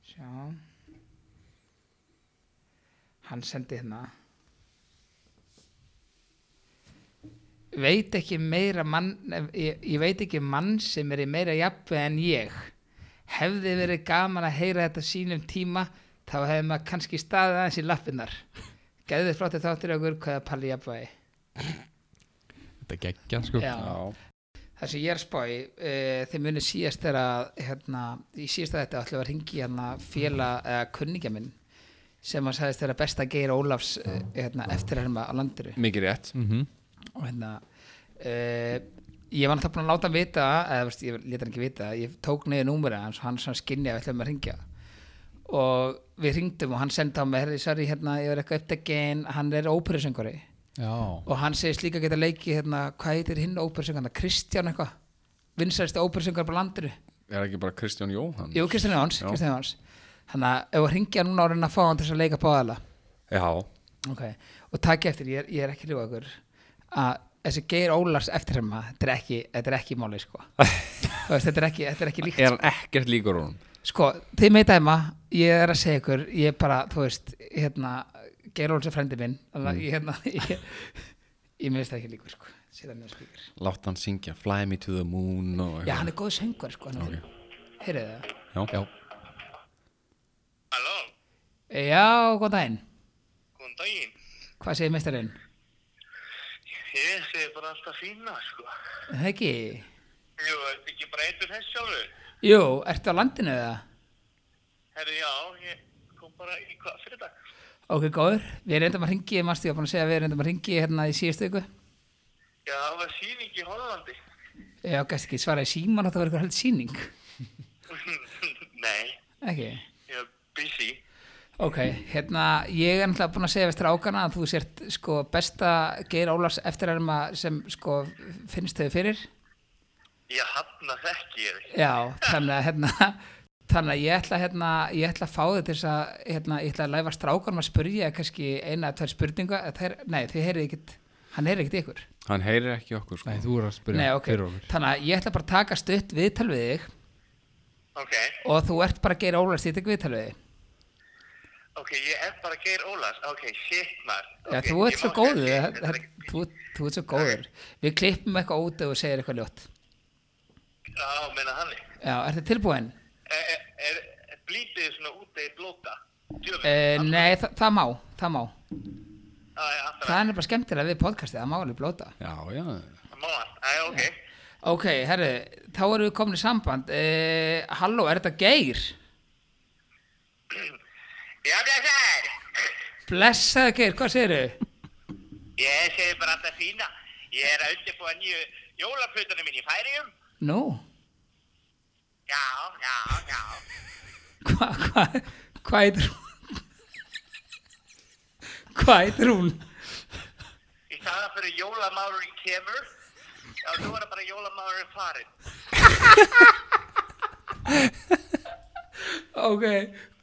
A: sjá hann sendi hérna veit ekki meira mann ég, ég veit ekki mann sem er í meira jafnveg en ég hefði verið gaman að heyra þetta sínum tíma þá hefði maður kannski staðið aðeins í lappinnar geðið flotti þáttir okkur hvað að palli jafnvegi
D: Þetta geggja sko
A: Já. það sem ég er að spá í uh, þeim munið síðast þegar að hérna, í síðasta þetta ætlum við að ringi hérna fjöla eða kunningja minn sem að sagðist þeirra besta geir Ólafs uh, hérna, eftirherma á landiru
C: Mikið rétt
D: mm
A: og hérna uh, ég var náttúrulega búin að láta hann vita eða veist, ég leta hann ekki vita, ég tók niður númurið hans og hann svona skinni að við ætlum að ringja og við ringdum og hann sendi á mig, herri, sorry, hérna, ég er eitthvað upptekinn hann er óperusöngari
D: Já
A: og hann segist líka geta leikið hérna, hvað heitir hinn óperusöngana, Kristján eitthvað vinsælsti óperusöngar bara landinu
C: Er það ekki bara Kristján Jóhann?
A: Jú, Kristján Jóns,
C: Já.
A: Kristján Jóns þannig að ef að ringja núna á reyna að fá hann til þess að leika báðala
C: Já,
A: Ok, og takk eftir, ég er, ég er ekki ljúa ykkur að þessi Geir Ólars eftirherma, þetta er ekki, þetta er ekki máli sko. Þú veist, þetta er ekki, þetta er ekki líkt
C: er hann ekkert líkur honum?
A: sko, þið með dæma, ég er að segja ykkur ég bara, þú veist, hérna Geir Ólars er frendi minn þannig
C: Mm.
A: að ég, hérna, ég, ég meðist það ekki líkur sko, síðan mér spíkur
C: Látt hann syngja Fly me to the moon og
A: Já, hann er góð söngur sko, hann er
C: Ok.
A: heyrið það
C: Já. Já.
B: Halló,
A: Já, góð daginn,
B: góðan daginn.
A: hvað segir meistarinn?
B: Ég segi bara alltaf fína, sko.
A: Það ekki,
B: Jú, ertu ekki bara eitthvað þess sjálfur?
A: jú, ertu á landinu eða?
B: Herri, já, ég kom bara í hvað fyrir dag.
A: Ok, góður. Við reyndum að ringi, mannstu, ég var búin að segja að við reyndum að ringi hérna í síðustu ykkur.
B: Já, það var sýning í Hollandi.
A: Já, gæst ekki svara í síman að það var eitthvað held síning.
B: Nei,
A: Ekki.
B: ég er busy.
A: Ok, hérna, ég er náttúrulega búin að segja við strákana að þú sért sko besta Geir Ólafs eftirherma sem sko finnst þau fyrir.
B: Ég hafna þekki ég þig.
A: Já, þannig að hérna, þannig að ég ætla hérna, ég ætla að fá þau til þess að, hérna, ég ætla að læfa strákanum að spurja kannski eina eða tvær spurninga, þeir, nei, þið heyrið ekkit, hann heyrið ekkit ykkur.
C: Hann heyrir ekki okkur sko
D: Nei, þú voru að spyrja
A: Nei, ok,
D: fyrir okkur
A: þannig að ég ætla bara að taka stutt viðtal við þig
B: Ok,
A: og þú ert bara Geir Ólafs, ég tek viðtal við þig.
B: ok, ég er bara Geir Ólafs. Ok, shit, maður.
A: Já,
B: Ok,
A: þú
B: ég
A: ert svo
B: má
A: góður,
B: kannski-
A: það- það- þú þú ert svo góður. Við klippum eitthvað út og segir eitthvað ljótt.
B: Já, meina þannig.
A: Já, ertu tilbúin?
B: Er, er, er, er blítið svona úti í blóta? Djöfull,
A: Uh,
B: aftur-
A: nei, það, það má, það má.
B: Já, já, aftur
A: Það er bara skemmtilega við podcastið, það má alveg blóta.
C: Já, já
B: að- Má allt. Æ, ok.
A: Ok, herru, þá erum við komin í samband. Uh, halló, er þetta Geir?
B: Já, blessaður.
A: Blessaðu Geir, hvað segirðu?
B: Ég segi bara alltaf fína. Ég er að undirbúa nýju jólaplötunum minn í færiðum.
A: Nú,
B: Já, já, já.
A: hvað, hvað, hvað heitir hún? Hvað heitir hún?
B: Í staðan fyrir jólamálurinn kemur. Já, nú er það bara jólamálurinn farinn.
A: Ok,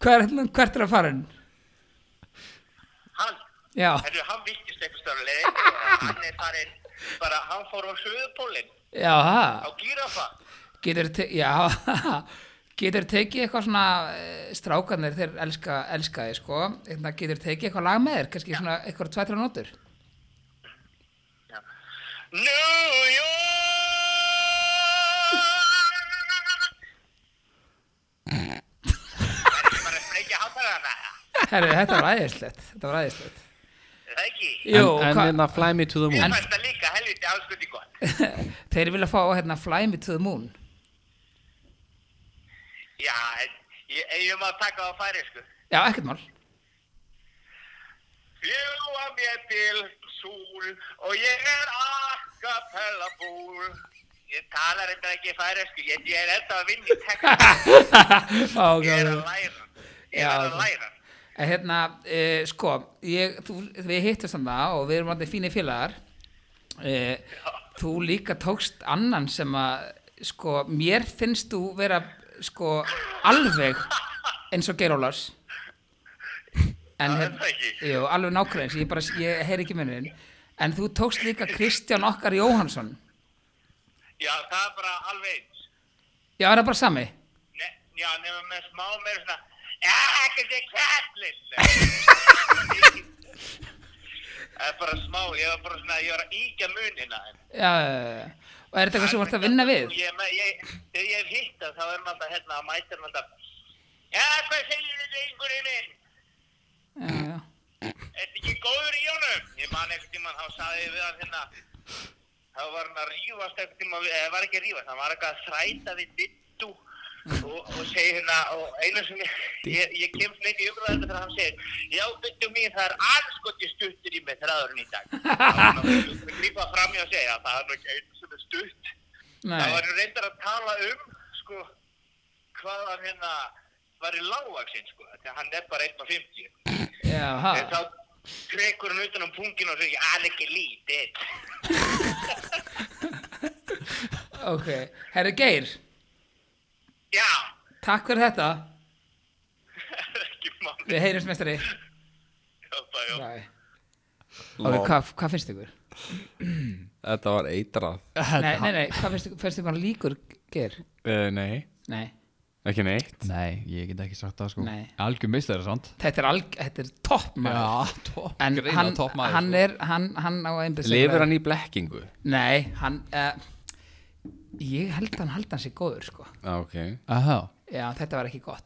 A: hver, hvert er að fara hann?
B: Hann,
A: Já,
B: herru, hann vittist eitthvað störlega. Hann er farinn, bara hann fór á söðupólinn,
A: já, það.
B: á gírafa.
A: Getur, te já, getur tekið eitthvað svona eh, strákarnir þeir elska, elska þið sko Einna, getur tekið eitthvað lag með þér kannski svona eitthvað tvættra nótur
B: New York! Það er ekki bara að sprengja hátalarna,
A: Herri, þetta var æðislegt þetta var æðislegt
B: er það ekki?
A: Jú,
C: En
A: hva-
C: hérna Fly me to
B: Ég
C: the moon
B: fannst það líka helviti áskundi gott.
A: þeir vilja fá hérna Fly Me To The Moon
B: Já, en ég, en ég má taka á færi, sko.
A: já, ekkert mál
B: Fljúa mér til súl og ég er acapella búl. Ég talar eitthvað ekki færi, sko. Ég, ég er enda að vinna í texta.
A: ok,
B: Ég er að
A: ok.
B: læra. Ég
A: Já,
B: er að
A: ok.
B: læra.
A: En hérna, e, sko ég, þú, við hittum þannig og við erum allir fínir félagar e, þú líka tókst annan sem að sko, mér finnst þú vera sko, alveg eins og Geir Ólafs en
B: Það er
A: hérna
B: það ekki.
A: jú, alveg nákvæmlega eins, ég bara, ég heyr ekki munin en þú tókst líka Kristján okkar Jóhansson
B: Já, það er bara alveg eins.
A: já, er það bara sami?
B: Ne, já, nefnum með smá meira svona Ekki þið kallinn. Það er bara smá, ég var bara svona, ég var að íkja munina. en-
A: Já, já, já. og er þetta eitthvað sem þú ert að vinna við?
B: Ég, ég, ég, þegar ég hef hitt það, þá er maður alltaf hérna að mæta maður alltaf. Já, hvað segir þið einhverju minn?
A: Já, já.
B: Ertu ekki góður í honum? Ég man einhvern tímann, þá saði ég við hann hérna, þá var hann að rífast einhvern tímann, við- eða var ekki að rífast, hann var eitthvað að þræta við dittu og, og segi hérna, og einu sem ég, ég, ég kem svona inn í umræðinu þegar hann segir, já, byttu mín, það er alls gott ég stuttur í með þræðurinn í dag. Það var grípa fram í og segja, það er nú ekki einu sem er stutt. Það
A: Nei,
B: var reyndar að tala um, sko, hvað hann hérna var í lágaksinn, sko, þegar hann er bara 1.50.
A: já, ha.
B: En þá krekur hann utan á pungin og segir, hann er ekki lítill.
A: Ok, herri Geir,
B: Já,
A: takk fyrir þetta.
B: ekki máli.
A: Við heyrjumst mestari.
B: Já, bara, já.
A: Bæ. Ok, hvað, hvað finnst ykkur?
E: Þetta var eitrað
A: Nei, nei, nei, hvað finnst ykkur, finnst ykkur hann líkur Geir?
C: Eh,
E: uh, Nei,
A: Nei,
E: ekki neitt
D: Nei, ég get ekki sagt það sko
A: Nei.
D: Algjör meistari, sant?
A: þetta er, alg, þetta er topp maður.
D: topp
A: En
D: greina,
A: hann,
D: topp maður,
A: hann
D: sko.
A: er, hann, hann á einbyrðsum.
E: Lifir hann í blekkingu?
A: Nei, hann, uh, ég held að hann haldi hann sér góður, sko.
E: Já, ok
D: Aha,
A: Já, þetta var ekki gott.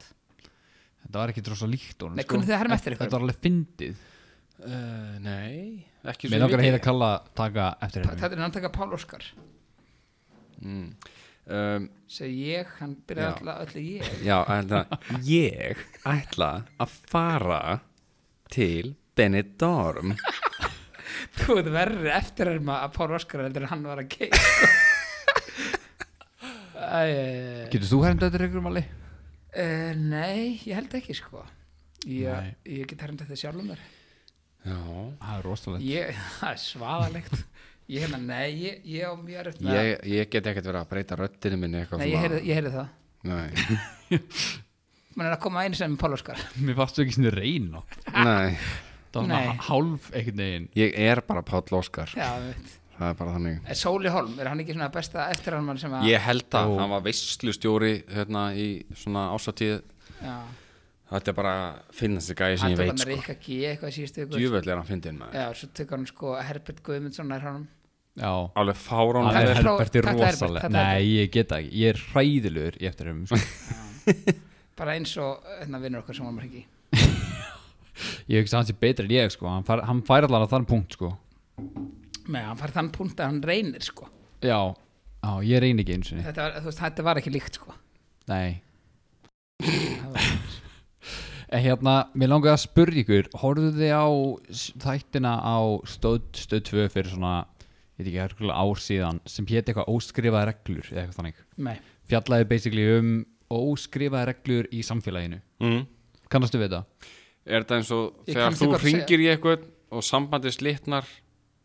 D: þetta var ekki drosa líkt honum sko.
A: Nei, kunnuð þið að herma eftir ykkur?
D: Þetta var alveg fyndið
C: Eh,
E: uh, Nei, ekki
D: Mér langar að heyra kalla taka eftir henni
A: Þetta er náttúrulega Pál Óskar.
E: um,
A: Svo ég, hann byrjaði alltaf öllu ég.
E: Já,
C: hérna,
E: ætla, ég ætla að fara til Benidorm
A: Þú veit verri eftir herma að Pál Óskar heldur en hann var að geið, sko. Æ,
D: Getur þú hermd eftir ykkur, Mali?
A: uh, nei, ég held ekki, sko. Ég, ég get hermd þetta sjálf um þér.
E: Já
D: Það er rosalegt
A: Ég, það er svaðalegt. Ég hefna, nei, ég, ég á mjög erfitt með að-
E: Ég, ég get ekkert verið að breyta röddinu minni eitthvað
A: Nei, ég heyrði, ég heyrði það.
E: Nei,
A: Man er að koma einu sem Pál Óskar.
D: Mér fannst þau ekki sinni reyna
E: nei
D: Það var
A: Nei.
D: svona hálf einhvern veginn
E: Ég er bara Páll Óskar
A: Já, við veit.
E: Það er bara þannig
A: En Sóli Holm, er hann ekki svona besta eftirhalmann sem að
E: Ég held að hann var veistlustjóri hérna í svona ásatíð
A: Já,
E: Þetta er bara að finna þessi gæði sem
A: hann
E: ég
A: tók hann með
E: veit sko
A: Rikka G eitthvað í síðustu ykkur
E: Djúvöld er hann fyndin maður
A: Já, svo tók hann sko Herbert Guðmundsson nær honum
D: Já
E: Alveg fárán
A: Hann
D: Það
A: er
D: er
A: próf- Þetta
D: Herbert er
A: er Herbert,
D: rosalegt
A: þetta er
D: Nei, ég get það ekki Ég er hræðilegur í eftir sko. henni
A: Bara eins og hérna vinnur okkar sem hann var ekki
D: Ég hugsa hans er betri en ég sko Hann fær, hann fær allan að þann punkt sko
A: Nei, hann fær þann punkt að hann reynir sko
D: Já Já, ég reyni ekki eins og
A: Þetta var, þú veist, þetta var ekki líkt sko
D: Nei
A: Það var-
D: En hérna, mér langaði að spurja ykkur Horfðu þið á s- þættina á stöð, stöð 2 fyrir svona ég veit ekki, hörgulega ár síðan sem héti eitthvað óskrifaða reglur eða eitthvað þannig
A: Nei,
D: Fjallaði basically um óskrifaða reglur í samfélaginu
C: mm.
D: Kannastu við það?
C: Er þetta eins og
A: Ég
C: þegar
A: kannast
C: þú
A: við hvað þú
C: ringir í eitthvað og sambandi slitnar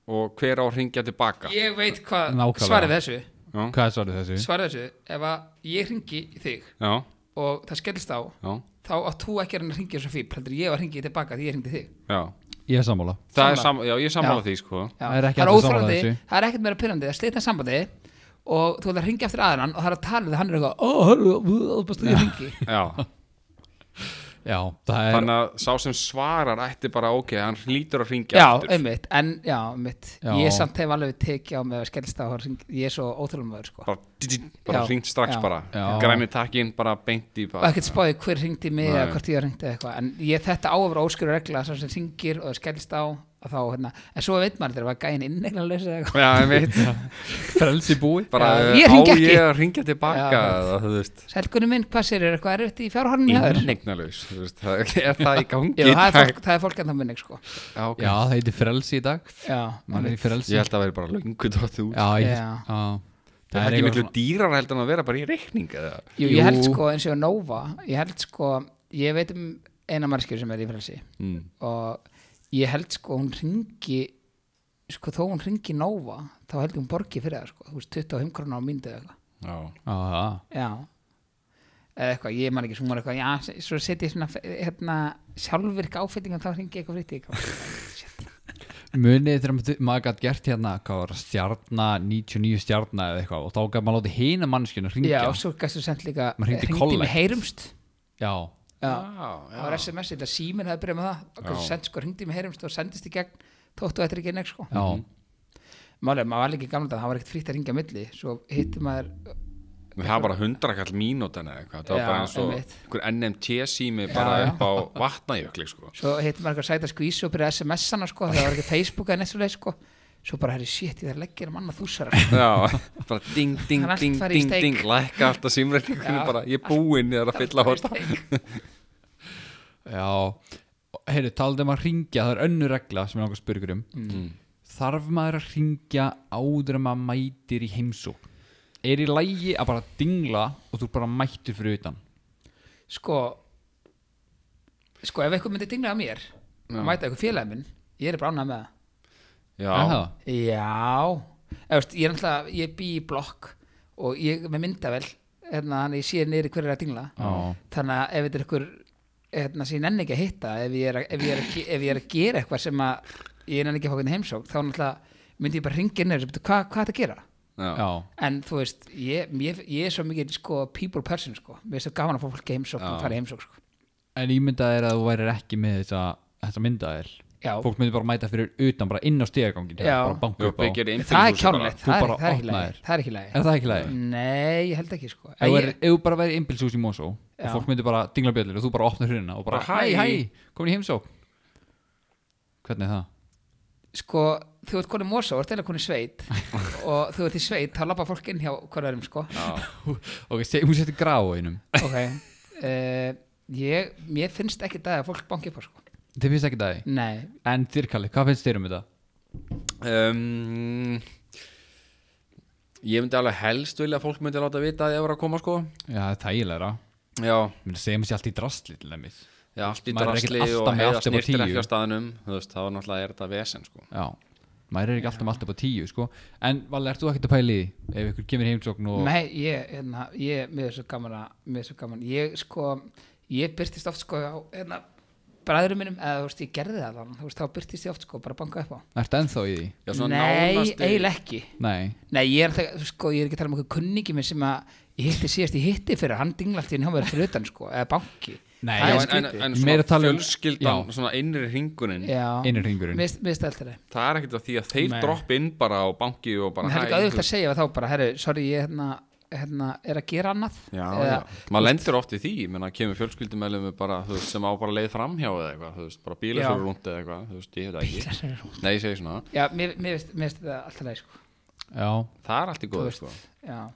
C: og hver á að ringja tilbaka?
A: ég veit hvað
D: Nákvæmlega.
A: svarið við þessu
D: Hvað er svarið þessu?
A: Svarið við þessu, ef að ég ringi í þig
C: Já,
A: og það skellist á
C: já,
A: þá átt þú ekki að reyna að ringja svo fíp heldur ég að ringi tilbaka því ég ringdi þig
C: já
D: Ég er sammála
C: Það
A: Sammála.
C: er sam, Já, ég er sammála
A: Já.
C: því sko
A: Já,
D: Það er ekki hægt að sammála
A: óþolandi,
D: þessu.
A: það er ekkert meira pyrrandi það slitna sambandi og þú ætlar að ringja eftir aðan og það er að tala við hann er eitthvað ó, hörru, þú búst að ég ringi
C: Já,
D: Já, það er
C: þannig að sá sem svarar ætti bara ok, hann hlýtur að ringja
A: já,
C: aftur
A: einmitt, en já, einmitt
D: Já.
A: ég samt hef alveg tekið á mig að skellst á að hring- ég er svo óþólumöður sko.
C: bara, dí- dí- bara
A: Já,
C: hringt strax
A: já.
C: bara
D: Já.
C: græni takkinn bara beint í
A: og
C: bara.
A: ekkert spáði hver ringdi mig
C: Nei.
A: eða hvort ég ringdi eða eitthvað en ég, þetta á að vera óskjöru regla sem sem ringir og það skellst á að þá, hérna, en svo veit maður þegar var gæin inneglega laus eða eitthvað
C: Já, ég veit
D: frelsi búi
C: bara, eh,
A: Já, ég hringi
C: á
A: ekki.
C: ég að ringja tilbaka
A: Já.
C: eða, þú veist
A: Selgunni minn, hvað sér, er eitthvað erfitt í fjárhornin hjá þér?
C: Inneignalaus, þú veist, það er það í
A: Jú,
C: gangi
A: það er
C: í dag?
A: fólk, það er fólk ennþá minni, sko.
C: Já, ok.
D: Já, það heitir frelsi í dag
A: Já,
D: Man er í frelsi
C: Ég held að það væri bara löngu dóttu út
D: Já, ég,
A: Já.
D: já.
C: Það er ekki
D: eitthvað
C: miklu dýrar heldur en að vera bara í reikning eða?
A: Jú, ég held
D: Jú.
A: sko eins og Nova ég held sko, ég veit um eina mannskjur sem er í frelsi
C: Mm.
A: og ég held sko hún ringi sko þó hún ringi Nova þá held ég hún borgi fyrir það sko þú veist 25 krónu á myndu eða eitthvað
D: svona-
C: Já.
D: Já, já.
A: já eða eitthvað, ég man ekki sem hún var eitthvað já, s- svo setja ég svona f- hérna, sjálfvirk áfetting og þá ringi ég eitthvað frýtti eitthvað Shit.
D: munið þegar maður- maður gætt gert hérna hvað var það, stjarna, 99 stjarna eða eitthvað og þá gætt maður látið hina mannskjuna
A: já,
D: hringja
A: og svo gæstu sent líka
D: Maður hringdi í
A: hringdi
D: Collect.
A: mig heyrumst
D: já,
A: Já. það var
C: já,
A: SMS, þetta síminn hefði byrjað með það og
C: Já.
A: send, sko, hringdi í mig heyrumst og sendist í gegn þóttu þetta er ekki neik sko.
D: Já,
C: Mhm.
A: Málega, maður var líka í gamla þetta, það var ekkert frítt að ringja á milli svo hittir maður
C: það var bara hundrakall mínútan eða eitthvað, það var
A: Já,
C: bara eins og
A: einmitt.
C: einhver NMT sími bara
A: Já, já.
C: upp á vatnajökli sko.
A: svo hittir maður eitthvað sæta skvísu og byrja SMS-ana sko, það var ekki Facebook eða neitt svo leið sko. svo bara, herri, shit, ég þarf að leggja um annað þúsara sko.
C: Já, bara ding, ding,
A: Það er allt
C: ding,
A: farið í
C: ding,
A: steik.
C: ding, lækka alltaf símreikningunum
A: Já.
C: bara, ég er búinn, ég er að fylla á þetta.
D: já Heyrðu, talandi um að ringja, það er önnur regla sem ég langar að spyrja ykkur um
C: Mm.
D: Þarf maður að ringja áður en maður mætir í heimsók? Er í lægi að bara dingla og þú bara mættir fyrir utan?
A: sko sko, ef eitthvað myndi dinglega að mér og mæta eitthvað félagi minn, ég er bara ánægð með það
C: Já,
D: Er það?
A: Já Eða, veist, ég er náttúrulega, ég bý í blokk og ég með myndavel hérna, þannig ég sé niður hverju er að dingla
D: Já.
A: þannig að ef þetta er ykkur hérna, sem ég nenni ekki að hitta ef ég er að, ef ég er að, ge- ef ég er að gera eitthvað sem að ég nenni ekki að fá hvernig heimsók þá náttúrulega myndi ég bara ringja niður og segja, "Hva- hvað er þetta að gera?
C: já,
D: Já,
A: En þú veist, ég, ég, ég er svo mikið sko, people person, sko. mér er svo gaman að fá fólk í heimsók og fara í heimsók sko.
D: En ímyndað er að þú værir ekki með þessa, þessa myndaðir
A: Já.
D: Fólk myndir bara mæta fyrir utan, bara inn á stegagangin
A: Já.
D: Bara banka
C: já,
D: upp á
C: byggir
A: það er
D: Er
C: einbýlishúsi bara.
A: kjánulegt,
D: Þú
A: það er
D: bara
A: það er ekki
D: opnaðir.
A: lægi það er ekki lægi,
D: það ekki lægi?
A: nei, ég held ekki sko.
D: Ef þú
A: ég,
D: værir- ef þú bara væri innbilsús í Mosó og
A: Já.
D: fólk myndir bara dingla bjöllir og þú bara opnar hruna og bara hæ,
C: Bara, hæ.
D: hæ, komin í heimsók Hvernig er það?
A: sko, þú ert konið mosa og ert eða konið sveit og þú ert í sveit, þá lappa fólk inn hjá hverjarum sko
D: Ok, se, hún setur grá á einum
A: ok uh, ég, mér finnst ekki það að fólk banki upp á sko
D: Þið finnst ekki það í
A: nei,
D: En þér Kalli, hvað finnst þér um þetta?
C: um, Ég myndi alveg helst vilja að fólk myndi láta vita að ég var að koma sko
D: Já, það er þægilega
C: Já,
D: Mér segjum sér allt í drastli til dæmis
C: já allt í
D: Maður er ekkert
C: drasli
D: alltaf
C: og
D: með
C: heiða
D: allt upp á
C: snirtir
D: tíu.
C: ekki á staðnum þú veist, það var náttúrulega er þetta vesen sko
D: Já, maður er ekki alltaf með allt upp á tíu sko. En Valli, ert þú ekkert að pæli því ef ykkur kemur í heimsókn og
A: nei ég, hérna, ég mér er svo gaman að, mér er svo gaman ég sko, ég byrtist oft sko á, hérna, bræðurum mínum eða þú veist, ég gerði það allan, þú veist, þá byrtist ég oft sko bara banka upp á,
D: Ertu ennþá í því?
C: já, svona
A: nei,
C: nánasti-
A: eiginlega ekki
D: Nei,
A: Nei, ég er, alltaf, sko, ég er ekki að tala um okkur kunningi minn sem að ég hitti síðast ég hitti fyrir, hann dingla alltaf inn hjá mér fyrir utan sko, eða banki
D: Nei,
A: Það
C: Já,
A: er
C: en, en,
A: skrítið.
C: en
D: Meira
C: svona
D: tala um-
C: fjölskyldan,
D: já.
C: svona innri ringunin
A: Já.
D: Innri Ah. hringurinn.
A: Mér mér finnst það alltaf leið.
C: Það er ekkert að því að þeir dropp inn bara á banki og bara
A: En það er
C: hæ,
A: ekki
C: þú
A: auðvitað að segja þá bara, herru, sorry, ég hérna, hérna, er að gera annað
C: Já,
A: Eða-
C: já. maður lendir oft í því, menn að kemur fjölskyldumælum bara, þú veist, sem á bara leið framhjá eða eitthvað, þú veist, bara
A: Já.
C: bílasöru rúnd eða eitthvað, þú veist, ég hef það ekki.
A: Bílar eru-
C: Nei, ég segi svona,
A: Já, mér mér finnst mér finnst þetta alltaf leið sko.
D: já
C: það er allt í góðu,
A: veist,
C: sko.
A: Já,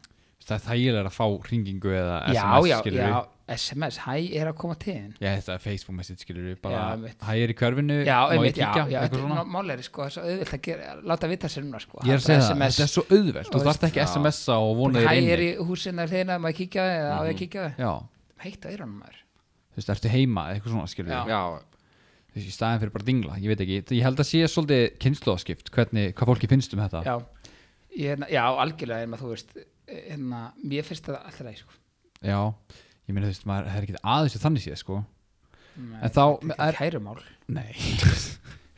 D: Það er þægilega að fá hringingu eða
A: já,
D: SMS
A: já,
D: skilur
A: já, SMS, hæ, er að koma til þín
D: Já, þetta er Facebook message skilur við bara,
A: Já, einmitt.
D: hæ er í körfinu,
A: Já,
D: má
A: einmitt,
D: ég
A: já, já,
D: kíkja, eitthvað
A: þetta
D: svona
A: er máleiri sko, það er svo auðvilt að gera, láta vita sér núna sko
D: Ég er að
A: Bara
D: segja það,
A: SMS,
D: þetta er svo auðvelt, þú
A: Þú
D: þarft ekki SMS-a og vona
A: hæ,
D: þér
A: er
D: inni
A: í húsinu að hliðina, maður kíkja á þig eða á ég að kíkja á þig
D: Já,
A: Heitt á eyrunum maður
D: þú veist, ertu heima, eitthvað svona skilur við
C: Já,
D: Þú veist, í staðin fyrir bara dingla, ég veit ekki Ég held að sé svolítið kynnslóðaskipt, hvernig, hvað fólki finnst um þetta
A: Já, ég, hérna, já algjörlega en maður þú veist hérna, mér finnst það alltaf leið sko.
D: Já, ég meina þú veist, maður það er ekki aðeins að þannig séð sko
A: Nei,
D: En þá
A: þetta
D: er-
A: er kærumál
D: Nei,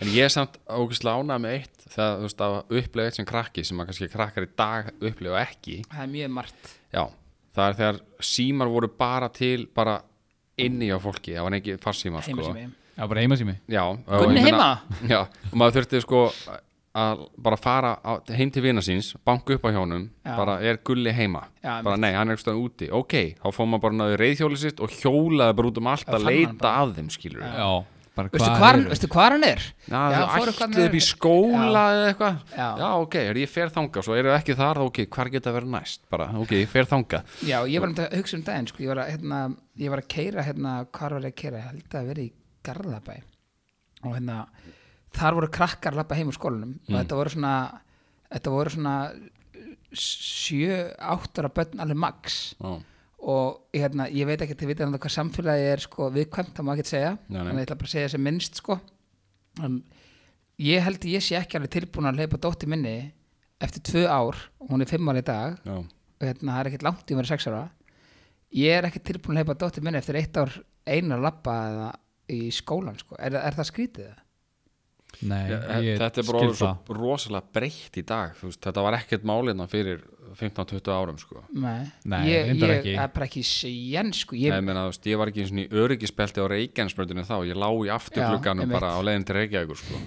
C: en ég er samt ógustlega ánað með eitt, það, þú veist, að upplega eitt sem krakki, sem að kannski krakkar í dag upplega ekki,
A: það er mjög margt
C: já, það er þegar símar voru bara til, bara inni á fólki, það var ekki farsímar,
A: heima
C: sko.
A: sem ég
D: já, bara heima sími
C: Já, og
A: Gunni
C: ég
A: heima?
C: Já, og maður þurfti sko að bara fara á, heim til vina síns banka upp á hjónum,
A: Já.
C: bara er gulli heima
A: Já,
C: bara nei, hann er ekki stöðan úti ok, þá fór maður bara náður reyðhjóli sitt og hjólaði bara út um allt
A: Já,
C: að
A: fann hann
C: leita
A: bara.
C: að þeim skilur við
D: Já, bara
A: veistu
D: hvar
A: hvar,
D: eru?
A: veistu hvar hann er?
C: Já,
A: fóru
C: þú
A: hvað hann
C: ætluðu
A: er-
C: upp í skóla eða eitthvað
A: Já.
C: Já, ok, er ég fer þangað, svo eru ekki þar, ok, hvar geta verið næst bara, ok, ég fer þangað
A: Já, ég var um þetta að hugsa um daginn sko. ég, var að, hérna, ég var að keira hérna, hvar var ég að keira, ég held að vera í Garðabæ og hérna þar voru krakkar að lappa heim úr skólanum
C: Mm.
A: og þetta voru svona þetta voru svona sjö, áttara börn alveg max
C: Já,
A: og hérna, ég veit ekki að þið vitið náttúrulega hvað samfélagi er sko viðkvæmt, það má ekki segja
C: nei.
A: en ég ætla bara að segja sem minnst sko um, ég held ég sé ekki alveg tilbúin að leipa dótti minni eftir tvö ár, hún er fimm ára í dag
C: já,
A: og hérna, það er ekkert langt í mér sex ára ég er ekki tilbúin að leipa dótti minni eftir eitt ár einar labba eða í skólan sko, er, er það skrítið það?
D: Nei,
C: Ég-
D: ég
C: Þetta er bara
D: skil
C: orðið svo
D: það.
C: rosalega breytt í dag þú veist, þetta var ekkert málinna hérna fyrir 15-20 árum sko
A: Nei,
D: Nei,
A: ég,
D: reyndar
A: ég,
D: ekki.
A: það er bara ekki sén sko,
C: Ég,
A: ég,
C: Nei, menna, veist, ég var ekki eins og í öryggisbelti á Reykjanesbröndinu þá, ég lá í afturglugganum
A: Já,
C: bara á leiðin til Reykjavíkur sko.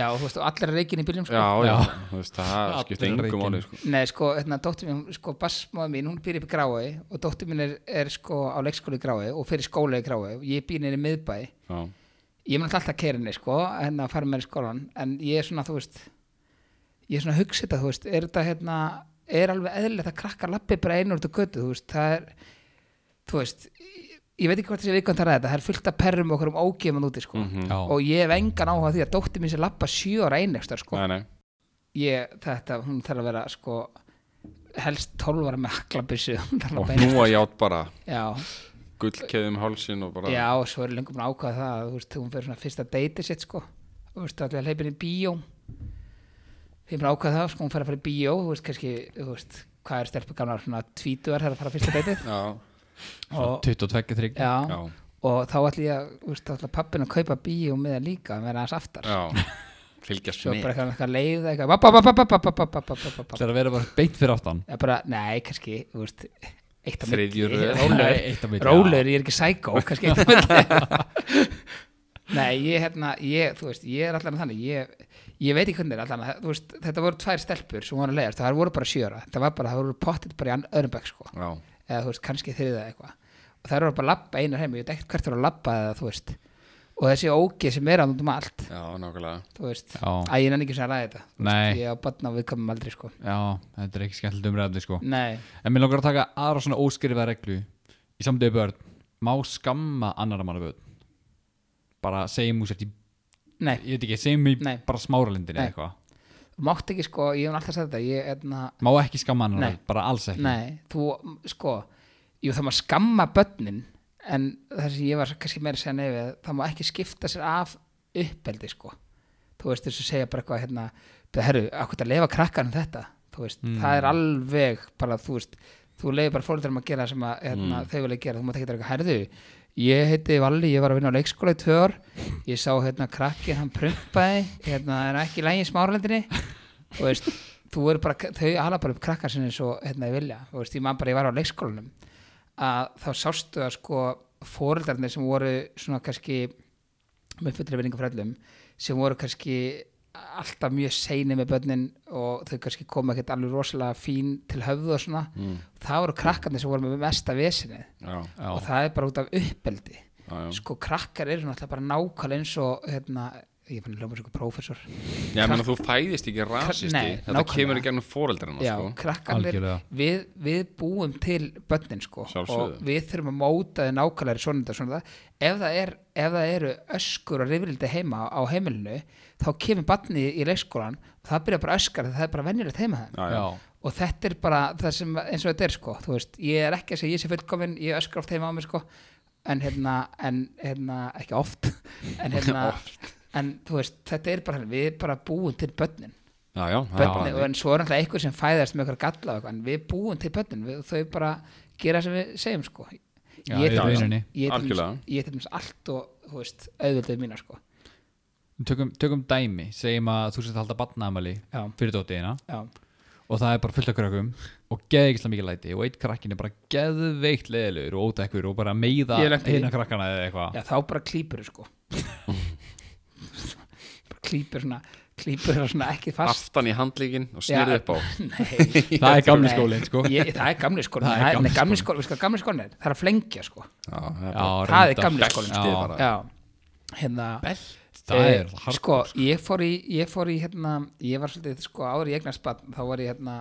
A: já, þú veist, og allir er reikin í byrjum sko.
C: Já, já, þú veist, það skipti
D: Allir
C: engum
D: Reykjan.
C: máli sko.
A: Nei, sko, hérna, dóttir mín, sko, bassmáða mín, hún býr upp í Grái og dóttir mín er, er sko á leikskóli í Grái og fyrir skóla í Grái og ég býr nýri miðbæ
C: Já,
A: ég mun alltaf kerinni, sko, en að fara með henni í skólan en ég er svona, þú veist ég er svona að hugsa þetta, þú veist, er þetta hérna, er alveg eðlilegt að krakka lappi bara einu úr þetta götu, þú veist, það er þú veist, ég, ég veit ekki hvort þessi vikvænt að ræða þetta, það er fullt af perrum og okkur um ógefum úti, sko,
C: Mhm,
D: Já.
A: og ég hef engan áhuga á því að dóttir mín sé lappa sjö ára einekstar, sko
C: nei, nei
A: ég, þetta, hún þarf að vera sko helst 12 ára með haklabissu hún þarf að
C: Og
A: beina
C: nú að ját bara
A: já,
C: gullkeðum hálsin og bara
A: já, og svo er lengum að ákvaða það að, þú veist, hún fyrir svona fyrsta deiti sitt sko og þú veist, allir að leipin í bíó við erum ákvaða það, sko, hún fyrir að fara í bíó þú veist, kannski, þú veist, hvað er stelpu gamla svona tvítuar þegar að fara á fyrsta deiti
C: Já,
A: og,
D: 22, 3
A: já,
C: já,
A: og þá ætlum ég að, þú veist, ætla pappin að kaupa bíó með það líka, með aðeins aftar
C: já. Fylgjast
A: svo
C: með
A: bara eitthvað- eitthvað leiða, eitthvað bap, bap, bap, bap, bap, bap, bap, bap, bap.
D: Það er að vera bara beint fyrir áttan
A: Já, bara, nei, kannski, þú veist, eitt af
C: Þriðju röð.
D: Nei, eitt á milli, já.
A: Rólegur, ég er ekki sækó, kannski eitt af milli. Nei, ég, hérna, ég, þú veist, ég er allan þannig, ég, ég veit ekki hvernig er allan, að- þú veist, þetta voru tvær stelpur sem voru að leiðast, það voru bara sjöra, það var bara, það voru pottit bara í ann- öðrum bekk, sko,
C: Já,
A: eða þú veist, kannski þriða eitthvað, og það voru bara að labba einar heim, ég veit ekkert hvert það voru að labba eða, þú veist, og þessi ógi sem er að um allt,
C: já, nákvæmlega
A: þú veist,
D: Já.
A: að ég nenni ekki sem að ræða þetta, Þú
D: Nei.
A: veist, ég á batna við komum aldrei, sko,
D: Já, þetta er ekki skemmtilegt umræðandi sko
A: nei,
D: En mér langar að taka aðra svona óskrifa reglu Í samtöðu börn Má skamma annara manna börn Bara segjum úr sért í
A: nei.
D: Ég veit ekki, segjum í
A: Nei.
D: bara smáralindinni
A: Nei.
D: eða eitthvað
A: mátt ekki sko, ég hef alltaf sagt þetta ég, etna,
D: Má ekki skamma annara
A: Nei.
D: börn, bara alls ekki
A: nei, þú sko jú það má skamma börnin en það sem ég var kannski meira að segja nefið að það má ekki skipta sér af uppeldi sko þú veist þess að segja bara eitthvað hérna "Bíddu, herru, akkur að lefa krakkanum þetta þú veist, það er alveg bara þú veist, þú leiði bara fólkdærum að gera það sem að, hérna, þau vilja gera, þú mátt ekki eitthvað herðu ég heiti Valli, ég var að vinna á leikskóla í tvö ár, ég sá hérna krakkin hann prumpaði, hérna það er ekki í lægi í smáralendinni þú veist, þú eru bara, þau ala bara upp krakkar sinni eins og hérna þau vilja, þú veist, ég man bara ég var á leikskólanum að þá sástu að sko fóreldarnir sem voru svona kannski með fullri vinningu frællum sem voru kannski alltaf mjög seini með börnin og þau kannski komu ekkert alveg rosalega fín til höfðu og svona, það voru krakkarnir sem voru með mesta vesinni
C: Já,
D: Já.
A: og það er bara út af uppeldi
C: já, já
A: sko krakkar eru náttúrulega bara nákvæmlega eins og hérna, ég fann að ljóma svo prófessor
C: Já, menn þú fæðist ekki rasisti
A: Nei,
C: Þetta
A: nákvæmlega.
C: kemur í gegnum fóreldrana
A: Já,
C: sko.
A: krakkanir,
D: Algjörlega.
A: við, við búum til börnin sko
C: Sjálfsögðu.
A: og við þurfum að móta þið nákvæmlega svona þetta, svona það, ef það, er, ef það eru öskur og rifrildi heima á heimilinu þá kemur barnið í leikskólan og það byrja bara að öskar það er bara venjulegt heima þeim
C: Já, já,
D: Já,
A: og þetta er bara það sem eins og þetta er sko þú veist, ég er ekki að segja ég sé fullkomin ég öskra oft heima á mig sko en hérna, en hérna, ekki oft en hérna, en þú veist þetta er bara, við erum bara búum til börnin
C: já, já, það er
A: bönni,
C: bara-
A: og en svo er náttúrulega einhver sem fæðast með eitthvað galla og eitthvað, en við búum til bönnin við, þau bara gera sem við segjum sko ég,
D: Já, í
A: til dæmis-
D: rauninni.
A: ég, til
C: Algjörlega.
A: dæmis- ég til dæmis allt og þú veist, auðvitað mína sko
D: tökum, tökum dæmi Segjum að þú sért að halda batnaðamæli
A: Já.
D: Fyrir dóttiðina
A: já,
D: og það er bara fullt af krökkum og geðvigislega mikið læti og eitt krakkin er bara geðveikt leðilegur og ódekkur og bara að meiða
A: Ég lenti í-
D: eina krakkana eða eitthvað
A: já þá bara klýpur sko bara klýpur svona klýpur það svona ekki fast
C: Aftan í handlíkin og
A: Já,
C: snýrði upp á
A: nei,
D: það er gamli
A: Nei,
D: skólinn sko
A: ég, það er gamli skólin
D: Það er
A: það er
D: gamli
A: nei, gamli skólin, við sko gamli skólin er það er að flengja sko
C: Já, það er
D: Já,
C: bara
A: það er
D: reyndar.
A: gamli skólin
C: Beltið
D: Já.
C: bara
A: já, hérna
D: það
A: Eh,
D: er hardcore,
A: sko, ég fór í, ég fór í hérna, ég var svolítið, sko, ári í eignarspann þá var ég, hérna,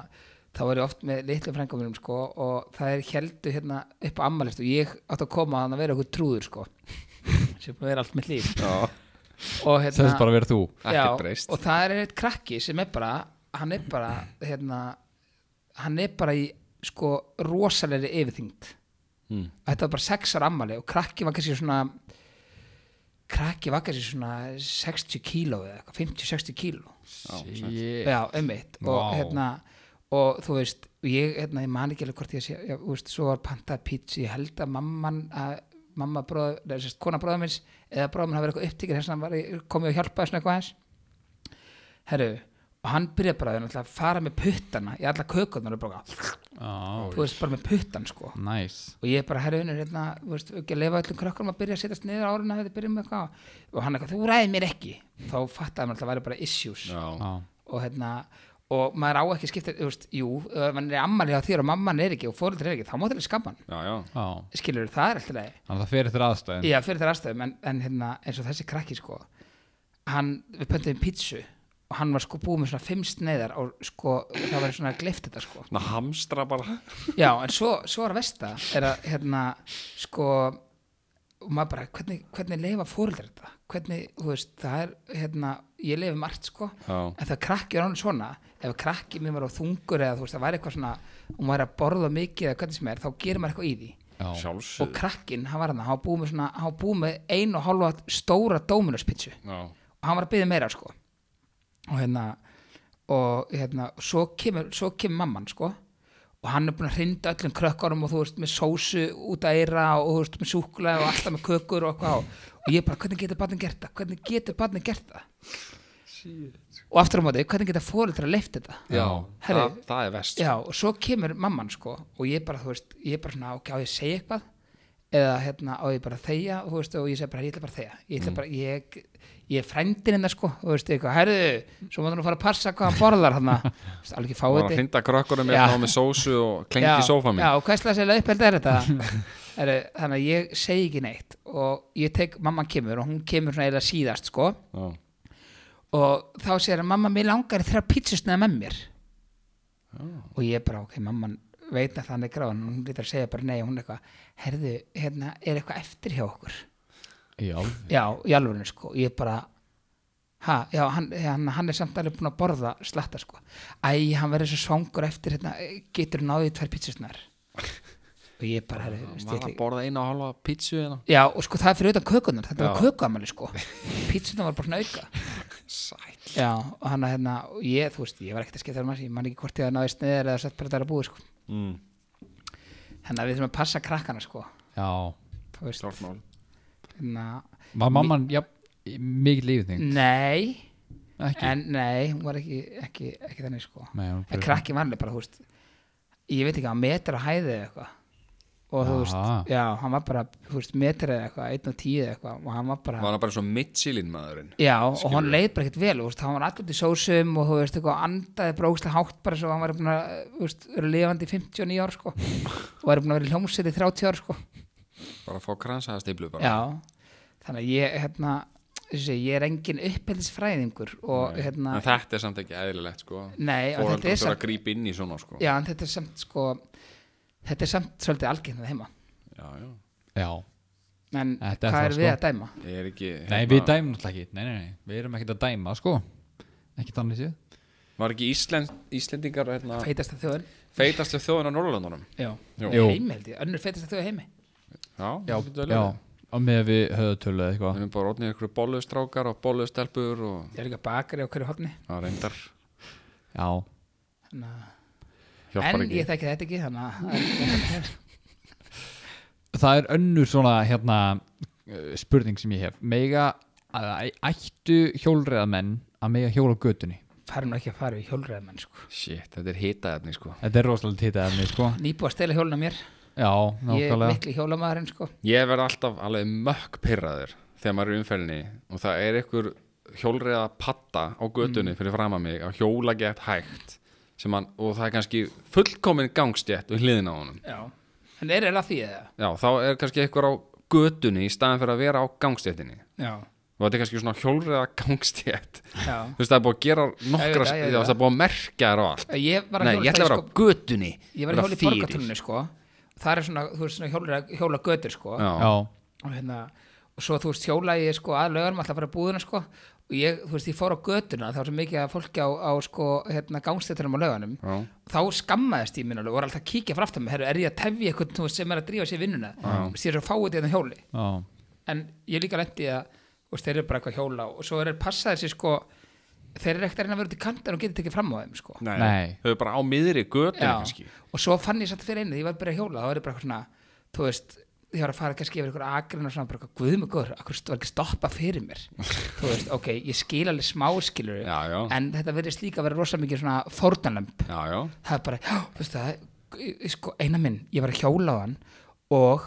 A: þá var ég oft með litlu frængum mínum, sko, og það er heldu, hérna, upp á ammalist og ég átti að koma að hann að vera eitthvað trúður, sko sem búið að vera allt mitt líf
C: Já,
A: og
D: það er bara
A: hérna,
D: að vera þú
A: já,
C: ekkert breyst
A: og það er eitt krakki sem er bara, hann er bara hérna, hann er bara í sko, rosalegri yfirþyngd
C: Mm.
A: þetta var bara sex ára ammali og krakki var kannski svona krakki var kannski svona 60 kíló eða eitthvað, 50-60 kíló
D: Shit.
A: já, einmitt og
D: Vá.
A: hérna og þú veist, ég, hérna, ég man ekki alveg hvort ég sé, já, þú veist, svo var pantað pítsi ég held að mamman að mamma bróð, neða, sérst, kona bróða minns eða bróða minn hafi verið eitthvað upptíkir, hérna var ég komið og hjálpaði svona eitthvað hans herru, og hann byrjaði bara að náttúrulega fara með puttana í alla kökunar og bara
D: Á,
A: þú veist bara með puttan sko
D: næs
A: og ég bara herraunir hérna, þú veist, ekki að leifa öllum krökkunum að byrja að setjast niður árin að þetta byrja með eitthvað og hann eitthvað, þú ræði mér ekki þá fattaði maður alltaf að væri bara issues
C: Já,
D: Á,
A: og hérna og maður á ekki að skipta, þú veist, jú ef mann er ammali á þér og mamman er ekki og fóreldri er ekki, þá máttu alveg skamman,
C: já, já
D: á
A: skilur það er alltaf leið
D: Þannig að það fer eftir aðstæðin
A: Já, fyrir þær aðstæðum, en, en hérna, eins og þessi krakki sko, hann, við pöntum pítsu og hann var sko búið með svona fimm sneiðar og sko, það var svona gleift þetta sko.
C: Ná, hamstra bara
A: Já, en svo, svo er að versta er að, hérna, sko og maður bara, hvernig, hvernig leifa fóreldar þetta? Hvernig, þú veist, það er, hérna, ég leifi margt sko
C: Já.
A: en það krakki er án svona ef krakki mér var á þungur eða þú veist, það væri eitthvað svona, hún væri að borða mikið eða hvernig sem er, þá gerir maður eitthvað í því
D: Já,
A: og
C: Sjálfsög
A: krakkinn, hann var hann hann var búið með svona, hann var búið með ein og hálfa stóra Dominos-pitsu
C: Já,
A: og hann var að byggja meira sko og hérna og hérna, svo kemur, svo kemur mamman sko og hann er búin að hrinda öllum krökkarum og þú veist með sósu út að eira og þú veist með súkula og alltaf með kökur og eitthvað á. og ég bara, hvernig getur barnið gert það? hvernig getur barnið gert það? og aftur á móti, hvernig geta fóreldra leift þetta?
C: já.
A: Herri,
C: það, það er vest
A: Já, og svo kemur mamman sko og ég bara, þú veist, ég bara svona, ok, á ég að segja eitthvað eða hérna, á ég bara að þegja og þú veist, og ég segi bara, ég ætla bara að þegja ég
C: Mm.
A: ætla bara, ég, ég er frændin hennar sko þú veist, eitthvað, herðu, svo maður nú fara að passa hvað hann borðar hann að, alveg ekki
C: Það var að
A: fáið
C: hrinda krökkunum
A: Já.
C: með, með sósu og klengi í sófa mín
A: Já, og hverslega sér uppelda er þetta Heru, þannig að ég segi ekki neitt og ég tek, mamman kemur og hún kemur svona eiginlega síðast sko
C: Já.
A: og þá segir hann mamma, mér langar í þrjá pítsusneið með mér og ég bara, ok, mamman veit að þannig gráðan, hún lítur að segja bara nei og hún er eitthvað, herðu, hérna er eitthvað eftir hjá okkur
D: já,
A: já, í alvörinu sko, ég bara ha, já, hann, hann, hann er samt alveg búin að borða slatta sko æ, hann verður svo svangur eftir hérna getur náðið tvær pítsusnar og ég bara, herðu, veist, ég ætla
E: Var að
A: ekki-
E: borða einu og halva pítsu
C: hérna?
E: eða?
A: já, og sko það er fyrir utan kökunar, þetta var kökuamæli sko pítsunar var bara svona auka
E: Sæl
A: Já, og hann að hérna, og ég, þú veist, ég var ekkert að skipta um hans, ég man ekki hvort ég að náði sniður eða sett bara þetta er að búið, sko. Mm. Þannig að við þurfum að passa krakkana, sko,
D: já
A: þú veist.
E: Klármál.
A: Hérna,
D: Var mamman, já, mikið lífið þing
A: nei,
D: Ekki
A: en nei, hún var ekki, ekki, ekki þannig, sko.
D: Nei, hún
A: En krakkin var alveg bara, þú veist, ég veit ekki, hann var metra hæði eða eitthvað. Og þú veist,
D: Aha.
A: já, hann var bara, þú veist, metra eða eitthvað, einn og tíu eða eitthvað, og hann var bara...
C: Var það bara eins og Michelin maðurinn
A: Já, og hann leið bara ekkert vel, þú veist, hann var alltaf í sósum og þú veist, eitthvað andaði brókslega hátt bara svo hann var búin að, þú veist, vera lifandi í 59 ár, sko, og var búin að vera í hljómsið í 30 ár, sko,
C: Bara að fá kransaða stíplu bara
A: já, þannig að ég, hérna, þessi, ég er engin uppeldisfræðingur og, hérna,
C: En þetta er samt ekki eðlilegt sko
A: nei, og
C: Fóraldur
A: þetta er
C: þurfa að
A: samt,
C: grípa inn í svona sko
A: já, en þetta er samt, sko, þetta er samt svolítið algengna heima,
C: já, já.
D: Já,
A: en
D: Þetta er
A: hvað
D: það,
A: er við
D: sko.
A: að dæma?
C: Ég er ekki hérna,
D: nei, við dæmum náttúrulega ekki Nei, nei, nei, við erum ekkert að dæma, sko Ekki þannig séð
C: Var ekki Íslend, Íslendingar hérna,
A: Feitasta þjóðin?
C: feitastu þjóðin á Norrlöndunum?
A: Já,
C: Jú.
A: Í heimi held ég, önnur feitasta þjóð í heimi,
C: Já,
D: Já,
C: þetta er
D: já
C: alveg.
D: Á með að við höfðu töluð eitthvað
C: Við
A: Mm.
C: erum bara orðnið ykkur bollustrákar og bollustelpur og
A: ég er líka bakari á hverju hotni,
C: já, reyndar
D: Já,
A: þannig að
C: hjálpar
A: en
C: ekki.
A: ég þekki þetta ekki þannig að
D: það er önnur svona hérna eh, spurning sem ég hef Mega, að- ættu hjólreiðamenn að mega hjóla á götunni
A: fara nú ekki að fara við hjólræðamenn sko.
C: Shit, þetta er hitaðefni sko
D: Þetta er rosalega titaðefni, sko
A: nýbúið að stela hjólna mér
D: Já,
A: ég er
D: nákvæmlega
A: mikli hjólamæðurinn sko.
C: Ég verð alltaf alveg mökk pyrraður þegar maður er í umferðinni og það er ykkur hjólreiða patta á götunni
A: Mm.
C: fyrir fram að mig á hjóla gett hægt sem hann, og það er kannski fullkomin gangstjætt við hliðina á honum
A: en er það því eða?
C: Já, þá er kannski ykkur á götunni í staðan fyrir að vera á gangstjættinni
A: já,
C: og þetta er kannski svona hjólreiða gangstjætt
A: já.
C: Þú veist, það er búið að gera
A: Ég veit
C: nokkra
A: það, ég veit
C: já,
A: það.
C: það er búið að merkja þér á allt
A: ég var að
C: Nei,
A: hjóla
C: ég ætla að vera á
A: sko,
C: götunni
A: ég var að hjóla í
C: fyrir.
A: borgartunni sko. það er svona, þú veist, svona hjóla, hjóla götur sko.
C: Já,
D: Já,
A: og, hérna, og svo þú veist hjóla ég sko, að lögum alltaf að fara að búðuna sko. og ég, þú veist, ég fór á götuna það var svo mikið að fólki á, á sko, hérna, gangstættunum á lögunum
C: já,
A: þá skammaðist ég minn alveg, voru alltaf að kíkja frá aftan mig, herru, er ég að tefja eitthvað þú veist, sem er að drífa sér í vinnuna, þú veist, ég er svo fáið þetta hjóli,
D: já,
A: en ég líka lendi að, þú veist, þeir eru bara eitthvað að hjóla og svo er þeir passaðir sér sko þeir eru ekkert að reyna að vera út í kantan og geta tekið fram á þeim sko,
C: nei,
D: Nei.
C: Þau eru bara á miðri götunni kannski
A: og svo fann ég satt fyrir einu, því ég var að byrja að hjóla, þá er ég bara eitthvað svona, þú veist ég var að fara kannski yfir ykkur akrin og svona bara, guð mig góður, akkur var ekki stoppa fyrir mér þú veist, ok, ég skil alveg smá skilur
C: Já, já.
A: en þetta verðist líka að vera rosa mikið svona fórtanlömp
C: já, já,
A: það er bara, já, veistu það ég- ég- sko, eina minn, ég var að hjóla á hann og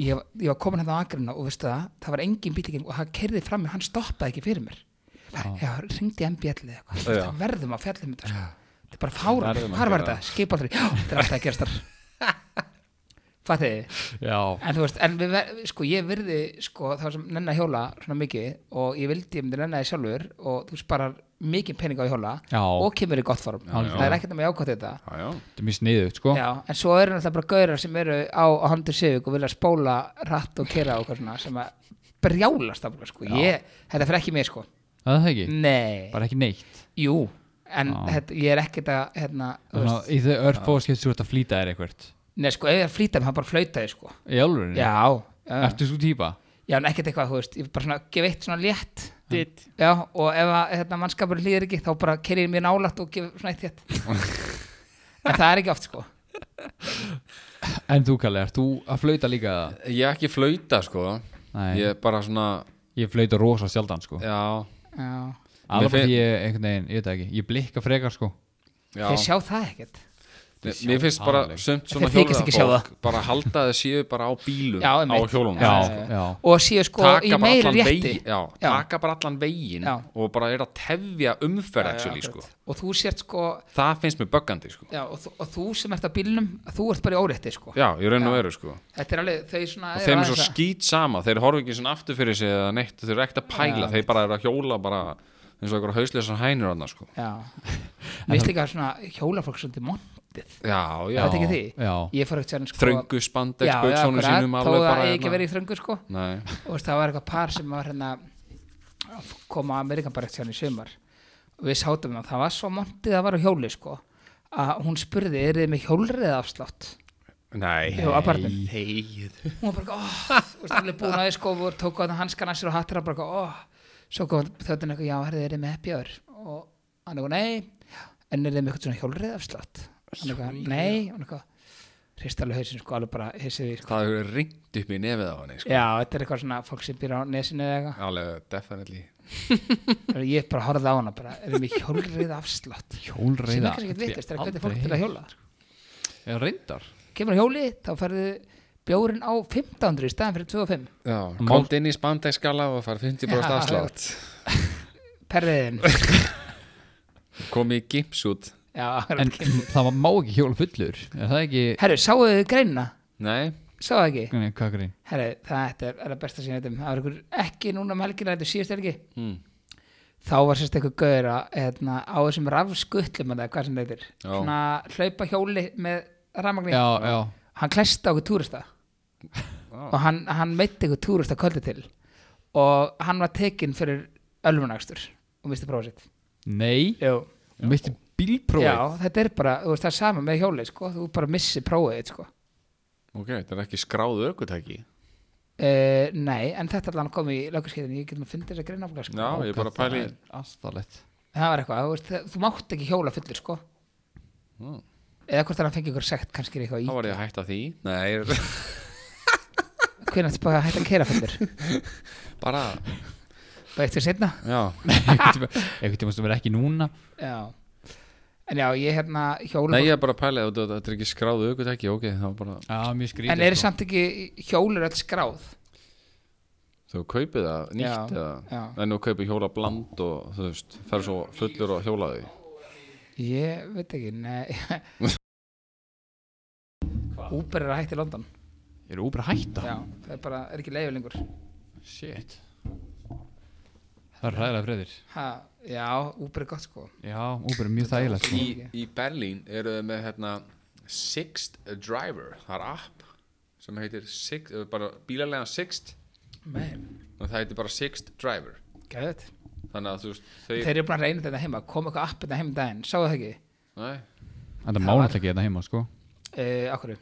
A: ég, ég var komin hérna á agrina og veistu það, það var engin bíl í gegn og það kerði fram mér, hann stoppaði ekki fyrir mér já, ringdi MBL eða eitthvað Þú veist, það verðum að fjalla um þetta sko. þetta er bara fára,
C: Verðum að
A: hvað var
C: gera
A: þetta, skipaldri já, þetta er alltaf að gerast þar fattiði
D: Já,
A: En þú veist, en við, ver- sko, ég virði sko, þá sem nenni að hjóla svona mikið og ég vildi, ég myndi nenni það sjálfur og þú sparar mikið pening á að hjóla
D: Já.
A: og kemur í gott form, það er ekkert að mig ákvæmt þetta
C: já, já.
D: þetta er mjög sniðugt sko
A: Já, en svo eru náttúrulega bara gaurar sem eru á, á handur sig og vilja spóla rætt og kera og eitthvað svona sem að brjálast af sko, ég, þetta fyrir ekki mér sko
D: Það er það ekki,
A: Nei,
D: bara ekki neitt
A: jú en
D: Já.
A: þetta, ég er ekkert að, hérna þú
D: Svona,
A: veist,
D: Í þau örfóðskeitt þú ert að flýta þér eitthvað
A: Nei, sko, ef ég er að flýta mig, hann bara flautaði sko
D: Í alvörinu?
A: Já, já.
D: Mm. Ertu svo típa?
A: Já, en ekkert eitthvað, þú veist, ég bara svona gef eitt svona létt Ditt. Já, og ef að hérna, mannskapur líður ekki, þá bara kerið mér nálægt og gef svona eitt hétt En það er ekki oft, sko
D: En þú Kalli, ert þú að flauta líka?
C: ég er ekki flauta sko
D: Nei.
C: ég er bara svona
D: Ég flauta rosa sjaldan sko
C: já,
A: Já,
D: Alveg
C: Mér
D: því
C: fin-
D: ég einhvern veginn, ég veit það ekki Ég blikka frekar sko
C: já.
A: þeir sjá það ekkert
C: Mér- mér finnst bara sumt svona
A: Þeir þykjast ekki sjá
C: hjólreiðafólk bara halda að þið séu bara á bílum
A: Já,
C: á
A: einmitt.
C: hjólunum
D: Já,
A: já.
D: já
A: Og síðu sko í
C: taka bara
A: meiri
C: allan
A: rétti
C: veginn já,
A: Já.
C: taka bara allan veginn
A: Já.
C: og bara er að tefja umferð actually, sko.
A: Og þú sért sko,
C: það finnst mér böggandi sko.
A: já, og, þú, og þú sem ert á bílnum, þú ert bara í órétti, sko
C: já, ég raun og veru sko.
A: Þetta er alveg, þau svona
C: og
A: eru
C: þeim er
A: aðeins
C: svo
A: að-
C: skýt sama þeir horfa ekki svona aftur fyrir sig eða neitt þeir eru ekkert að pæla, þeir bara eru að hjóla bara eins og einhverja hausleisar hænur annars sko.
A: Já, minnst líka svona hjólafólk svolítið montið
C: já, já,
A: Það er ekki því
D: Já.
A: Ég fór ekkert sérna sko
C: þröngu spandex
A: Já, já,
C: buksónu
A: akkurat,
C: sínum
A: Þó
C: alveg
A: það
C: bara
A: er ekki
C: hérna.
A: verið í þröngu, sko
C: Nei.
A: og veist, það var eitthvað par sem var hérna að koma að Amerikan bara eftir hann í sumar og við sátum að það var svo montið að vera á hjóli sko að hún spurði, er þið með hjólriða afslátt
C: Nei.
A: hjá apartin hún var bara, óh, þú veist, allir búin að því sko og tók á það hanskan að sér og hattir að bara, óh svo kom þjóttin eitthvað, já, herðið, er þið með eppjör og hann eitthvað, nei en er þið með eitthvað svona hjólriða afslátt hann eitthvað, nei, hann eitthvað hrist alveg hausin sko, alveg bara hissið því sko.
C: það hefur ringt upp í nefið á henni sko.
A: já, þetta er eitthvað svona fólk sem býr á nesinu eða eitthvað
C: alveg definitely
A: Þannig að ég bara horfði á hana bara, erum við hjólriða afslátt sem
D: Hjólreiða
A: er kannski ekki vitist, er að hvernig fólk til að hjóla
D: Já, reyndar
A: kemur á hjóli, þá ferðu bjórin á 1500 í staðan fyrir 25
C: Já,
D: Mál-
C: komd inn í spandegskala og fara 50 bróst
A: Já,
C: afslátt
A: perriðin
C: komið í gipsút
D: En
A: herru,
D: það má ekki hjóla fullur Er það ekki,
A: sáu þið greinina?
C: nei,
A: sáu þið ekki?
D: Nei, hvað grein?
A: herru, það er, er að besta sem ég veit um það var ykkur ekki núna um helgina, þetta er síðust helgi
C: Mm.
A: þá var sérst eitthvað gauður að, hérna, á þessum rafskullum eða hvað sem þetta er
C: Já.
A: svona hlaupa hjóli með rafmagni
D: Já, já,
A: hann klæst á okkur túrista og hann, hann meitti okkur túrista kvöldi til og hann var tekinn fyrir ölvunakstur og misti prófið sitt
D: nei
A: Jú.
D: Og misti bílprófið
A: Já, þetta er bara, þú veist það er sama með hjólið sko, þú bara missi prófið þitt, sko.
C: ok, þetta er ekki skráðu ökutæki
A: Uh, nei, en þetta allan kom í lögurskeiðinu, ég getum að finna þess að greina áfla sko.
C: já, ég er bara að pæli
D: Það er Astalett
A: Það var eitthvað, þú, veist, það- þú mátt ekki hjóla fullir sko. Eða hvort þannig að fengi ykkur sekt kannski er eitthvað í.
C: þá var ég að hætta því nei,
A: Hvernig þetta bara hægt að keira fullir?
C: bara,
A: Bara eitt fyrir setna?
C: já
D: Eitthvað tíma sem er ekki núna
A: Já. En já, ég hérna hjóla
C: nei, ég er bara að pæli, þetta þetta er ekki skráðu ökutæki ok, þá bara,
D: Já, mjög skrítið sko.
A: En eru samt ekki hjólur öll skráð?
C: þú kaupið það nýtt
A: Já,
C: eða,
A: já.
C: en þú kaupið hjóla bland og þú veist, fer svo fullur og hjólaði
A: Ég veit ekki, nei Uber er að hætta í London
D: Er Uber að hætta?
A: Já, það er bara, er ekki leiður lengur
D: Shit Það er ræðilega fredir
A: ha, Já, Uber er gott sko
D: Já, Uber er mjög þægilegt sko.
C: í, í Berlín eru þau með hérna Sixt Driver, það er app sem heitir Sixt, eh, bara bílarlega Sixt
A: Nei,
C: og það heitir bara Sixt Driver
A: gæðið
C: þannig að þú veist, þeir
A: Þeir eru búin að reyna þetta heima, kom eitthvað appið þetta heim um daginn Sáu það ekki?
C: nei,
D: Þetta má náttúrulega ekki þetta heima sko
A: Uh, akkur Já,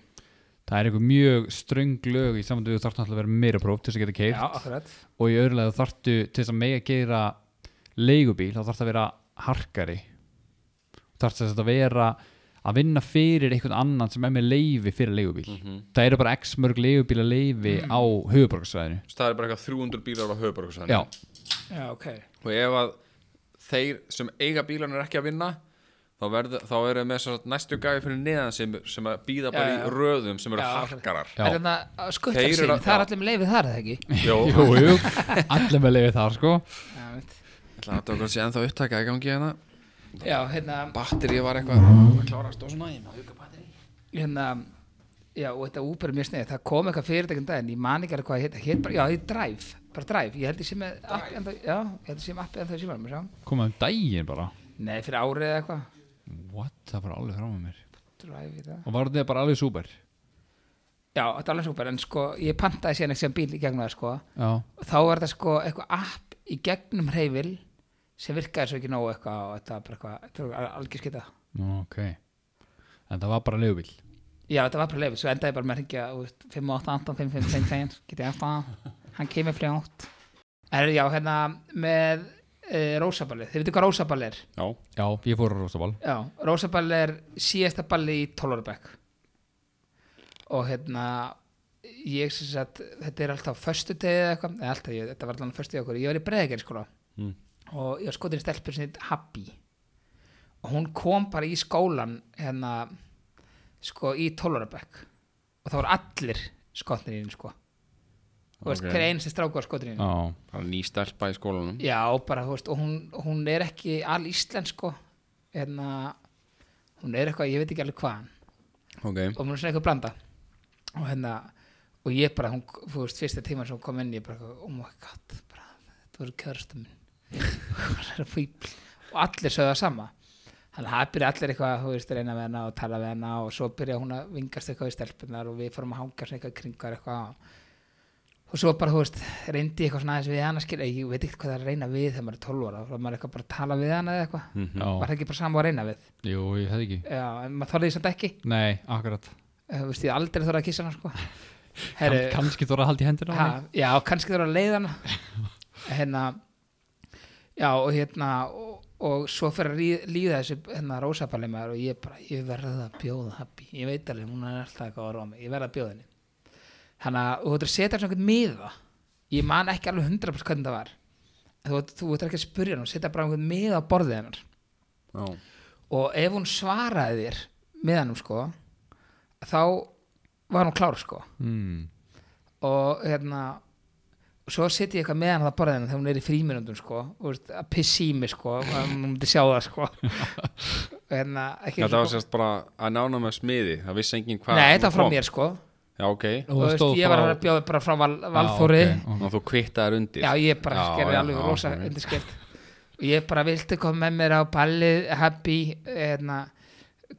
D: Það er eitthvað mjög ströng lög í samandu þú þarf náttúrulega að vera meira próf til þess að geta keirt
A: akkurat
D: og í öðrulega þú þarftu til þess að mega gera leigubíl þá þarftu að vera harkari þarftu þess að vera að vinna fyrir einhvern annan sem er með leifi fyrir leigubíl það eru bara x mörg leigubíla leifi á höfuborgarsvæðinu
C: Þú veist, það er bara eitthvað 300 bílar á höfuborgarsvæðinu
D: já,
A: já, ok
C: og ef að þeir sem eiga bílarnir ekki að vinna þá, verð, þá eru með svo sagt næstu gæfi fyrir neðan sem, sem að býða bara
A: Já, já.
C: í röðum sem eru
A: Já.
C: harkarar
D: Já.
A: er þannig að skuttar
C: Þeir
A: sig
C: eru að-
A: hérna, það er
C: já.
A: allir með leifið þar, er það ekki
C: Jó,
D: jú, jú allir með leifi þar sko
A: já, veit.
C: ég ætla að þetta okkur sé ennþá upptaka í gangi hérna
A: já, hérna,
C: Batteri var eitthvað klárast og svona
A: hérna já, og þetta Uber er mjög sniðið, það kom eitthvað fyrirtækjum daginn, ég man ekki alveg hvað það heit, heit bara, já, ég dræf, bara dræf, ég held ég sé með app, ennþá, já, ég held ég sé með app ennþá í símanum, sjá,
D: koma um daginn bara
A: nei, fyrir árið eða eitthvað
D: what, það var alveg fram með mér
A: dræf í það,
D: og var þetta bara alveg súper
A: já, þetta er alveg súper en sko, ég pantaði síðan ekki sem bíl í gegnum það sko,
D: já,
A: og þá var þetta sko eitthvað app í gegnum hreyfil sem virkaði svo ekki nógu eitthvað og þetta var bara eitthvað, þetta var algjör skita
D: Nú, ok en það var bara leigubíl
A: já, þetta var bara leifið, svo endaði ég bara með að hringja þú veist, 588 5555 get ég eftir hann kemur fljótt er já, hérna með e, rósaballi, þið veitum hvað rósaballi er
C: Já,
D: já, ég fór á Rósabal
A: já, rósaballi er síðasta balli í 12 ára bekk og hérna ég sem sagt, þetta er alltaf föstudegi eða eitthvað, eða alltaf, ég, þetta var alltaf föstudegi okkur, ég var í breðagerðskóla og ég var skotin í stelpur sem heit Happy og hún kom bara í skólan hérna sko í tólorabæk og það voru allir skotnir í henni sko og veist,
C: Ok.
A: hver einn sem stráku var skotin í henni
D: já,
C: bara ný stelpa í skólanum
A: já, bara, þú veist, og hún, hún er ekki all íslensk sko hérna, hún er eitthvað, ég veit ekki alveg hvaðan
C: okay.
A: og hún er svona eitthvað blanda og hérna og ég bara, hún, þú veist, fyrsta tíma sem hún kom inn ég bara, eitthvað, oh my god bara, þetta voru kjörstu minn Hún er fíbl. og allir sögðu það sama þannig að það byrja allir eitthvað þú veist, reyna við hana og tala við hana og svo byrja hún að vingast eitthvað í stelpunar og við fórum að hanga svona eitthvað í kringar eitthvað og svo bara, þú veist, reyndi ég eitthvað svona aðeins við hana skil, ég veit ekkert hvað það er að reyna við þegar maður er 12 ára, þá er maður eitthvað bara að tala við hana eða eitthvað, var
D: já,
A: það ekki bara sama að reyna við
D: jú, ég hefði ekki
A: já, en maður þorði því samt ekki
D: nei, akkurat
A: Eh, þú veist, ég hef aldrei þóra að kissa hana sko
D: Kann,
A: Heru,
D: kannski þú voru að halda í hendina á
A: ha,
D: henni?
A: já, kannski þóra að leiða hana hérna já og hérna og, og svo fyrir að ríð, líða þessi hérna rósapalli maður og ég bara ég verða að bjóða happy, ég veit alveg hún er alltaf eitthvað að rómi, ég verða að bjóða henni þannig að þú ættir að setja svona einhvern miða ég man ekki alveg 100% hvernig það var þú, átt- þú ættir ekki að spyrja hann og setja bara einhvern miða á borðið hennar
C: Já.
A: og ef hún svaraði þér með hannum sko þá var hún klár sko
D: mm.
A: og hérna og svo setjum ég eitthvað með hann að borða hennar þegar hún er í fríminundum sko og veist, að pissi í mig sko að hún myndi sjá það sko og hérna ekki
C: Þetta var sérst bara að nána með smiði það vissi enginn hvað hérna
A: Nei, þetta var frá mér sko og,
C: Já, ok,
D: og það
A: veist,
D: stóð
A: ég var
D: frá-
A: að bjóða bara frá val, valþóri
D: Já, ok,
C: og þú kvittaðir undir
A: Já, ég bara
C: Já,
A: gerði
C: já,
A: alveg
C: já,
A: rosa
C: ok.
A: undirskert og ég bara vildi koma með mér á ballið happy, hérna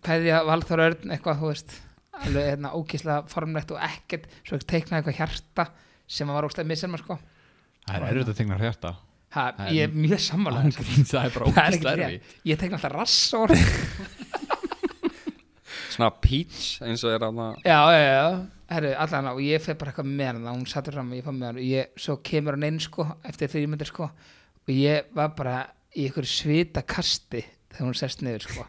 A: hverja Valþór Örn, eitthvað, þú veist alveg, hérna, ókíslega formlegt og ekkert svo teiknaði eitthvað hjarta sem var ókslega missan maður, sko
D: Það er erfitt að tegna hjarta
A: ha, ég er mjög sammála þessu.
D: Það er
A: það er
D: bara ógæst
A: ekki
D: erfi
A: rétt, ég teikna alltaf rassor já,
C: Svona peach eins og er aðna
A: já, já, já, herru, allan á og ég fer bara eitthvað með hann, hún sattur fram og ég fann með hann og ég, svo kemur hann inn, sko eftir því myndir, sko, og ég var bara í einhverju svita kasti þegar hún sest niður, sko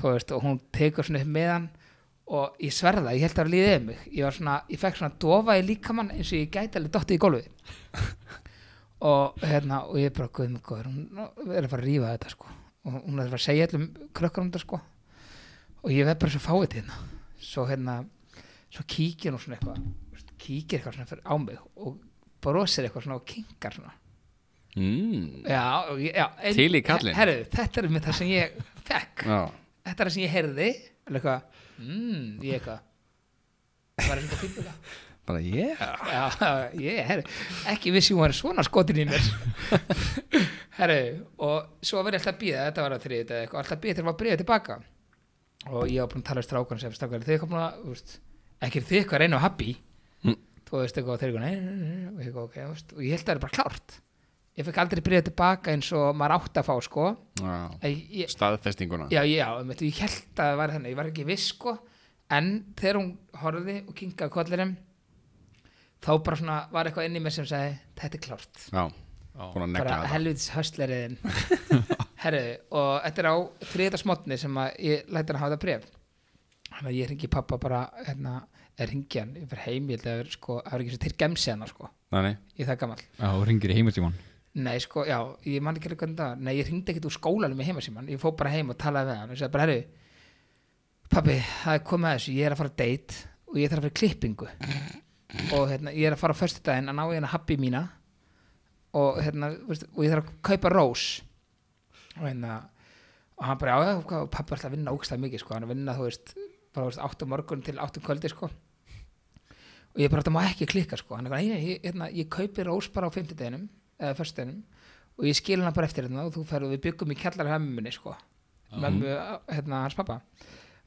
A: þú veist, og hún tekur svona upp með hann og ég sverða, ég held að það var líðið um mig ég var svona, ég fekk svona dofa í líkamann eins og ég gæti alveg dottið í gólfið og hérna, og ég bara guðum góður, hún er að fara að rífa þetta sko, og hún er að fara að segja allum krökkur um þetta sko og ég veð bara svo fáið til hérna svo hérna, svo kíkir hún svona eitthvað þú veist, kíkir eitthvað svona fyrir á mig og brosir eitthvað svona og kinkar svona
C: mm.
A: já, og ég- já, en-
C: Til í kallinn.
A: herru, þetta er mér það sem ég fekk
C: Já,
A: þetta er það sem ég heyrði alveg eitthvað, mm, ég eitthvað bara eitthvað fínt eitthvað
C: bara yeah
A: já, ég, herru, ekki vissi hún var svona skotin í mér herru, og svo var ég alltaf að býða þetta var að þriðið eða eitthvað, alltaf að býða til að fá bríða tilbaka og ég var búin að tala við strákan sem strákan, þið kom að, þú veist ekki er þið eitthvað að reyna á happy
C: Mm.
A: þú veist eitthvað, og þeir eitthvað, nei, nei, nei, nei, og ég eitthvað, ok, þú veist, og ég held að það er bara klárt ég fekk aldrei bríða tilbaka eins og maður átt að fá, sko
C: Já.
A: ég, ég,
C: Staðfestinguna
A: Já, já, um ég held að það var þannig, ég var ekki viss sko, en þegar hún horfði og kinkaði kollinum, þá bara svona var eitthvað inn í mér sem sagði, þetta er klárt.
C: Já, búin að negla
A: Bara
C: þetta
A: helvitis höstleriðin. herriði, og þetta er á þriðdags mótni sem að ég læti hann hafa þetta bref þannig að ég ringi pappa bara hérna, er ringi hann, ég fyrir heim ég held að það er sko, það er ekki svo til gemsi hann sko,
C: Nei, nei,
A: ég er það gamall
D: Já, og ringir í heimasíman
A: Nei, sko, já, ég man ekki alveg hvernig það var Nei, ég hringdi ekkert úr skólanum í heimasíman Ég fór bara heim og talaði við hann Ég sagði bara, herru, pabbi, það er komið að þessu Ég er að fara að date og ég þarf að fara í klippingu Og hérna, ég er að fara á föstudaginn að ná í hérna happy mína Og hérna, veist, og ég þarf að kaupa rós Og hérna Og hann bara, já, já, hvað, og pabbi er alltaf að vinna ógstað mikið, sko Hann er að vinna, þú veist, bara, þú veist, 8 morgun til 8 kvöldi, sko og ég bara, þetta má ekki klikka sko hann er bara, "Nei, ég, hérna, ég kaupi rós bara á fimmtudeginum eða föstudeginum og ég skil hana bara eftir hérna og þú ferð og við byggum í kjallar hemmunni sko mömmu, hérna, hans pappa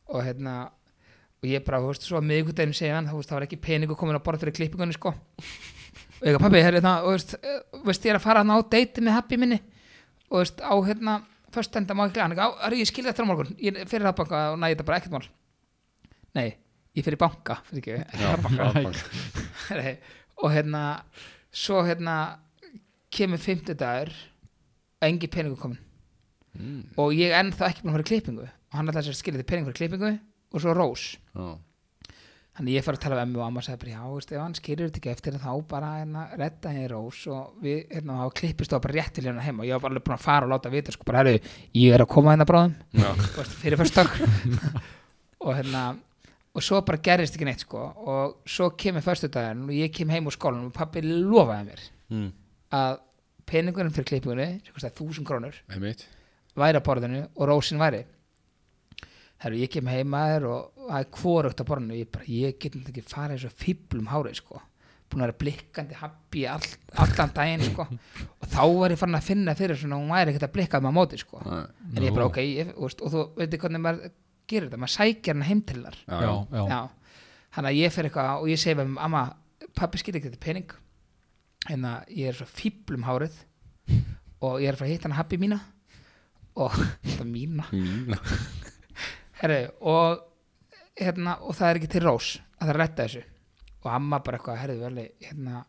A: og hérna og ég bara, þú veist, svo að miðvikudeginu segja hann þú veist, það var ekki peningu komin að borða fyrir klippingunni sko og ég bara, pappi, hérna, og þú veist, eh, þú veist, ég er að fara hann á date með happy minni og þú veist, á hérna föstudaginn, það má ekki klikka hann, er bara, "Á, Ari, ég skil þetta á morgun ég fyrir það banka og næ, þetta bara ekkert mál nei, ég fyrir banka fyrir ekki, ekki það banka Nei, og hérna svo hérna kemur fimmtudagur engi peningur komin
C: Mm.
A: og ég er ennþá ekki búin að fara í klippingu og hann ætlaði sér að skilja þig peningur í klippingu og svo rós
C: já,
A: þannig ég fara að tala við emmi og amma og sagði bara já, veist, ef hann skilur þetta ekki eftir þá bara hérna, redda henni rós og við hérna, þá klippist þá bara rétt til hérna heim og ég var bara alveg búin að fara og láta vita sko bara herru, ég er að koma hérna bráðum Þú veist, fyrir fyrstak og hérna og svo bara gerist ekki neitt sko og svo kemur fyrstudaginn og ég kem heim úr skólanum og pappi lofaði mér
C: Mm.
A: að peningurinn fyrir klippingunni sem kostaði 1000 krónur
C: einmitt
A: væri á borðinu og rósin væri herru ég kem heim að þér og það er kvorugt á borðinu ég, bara, ég get náttúrulega ekki farið þessu fýblum hárið sko búin að vera blikkandi happy all, allan daginn sko og þá var ég farin að finna fyrir svona að hún væri ekkert að blikka um á móti sko
C: Nei.
A: en ég bara ok, ég, þú veist, og þú veitir hvernig maður gerir þetta, maður sækir hana heim til þar
C: Já, já,
A: já, þannig að ég fer eitthvað og ég segi við amma, pappi skil ekki þetta pening en að ég er svo fýblum hárið og ég er að fara að hitta hana happy mína og þetta mína
C: mína
A: Herri, og, hérna, og það er ekki til rós að það er að retta þessu og amma bara eitthvað, herri, veli, hérna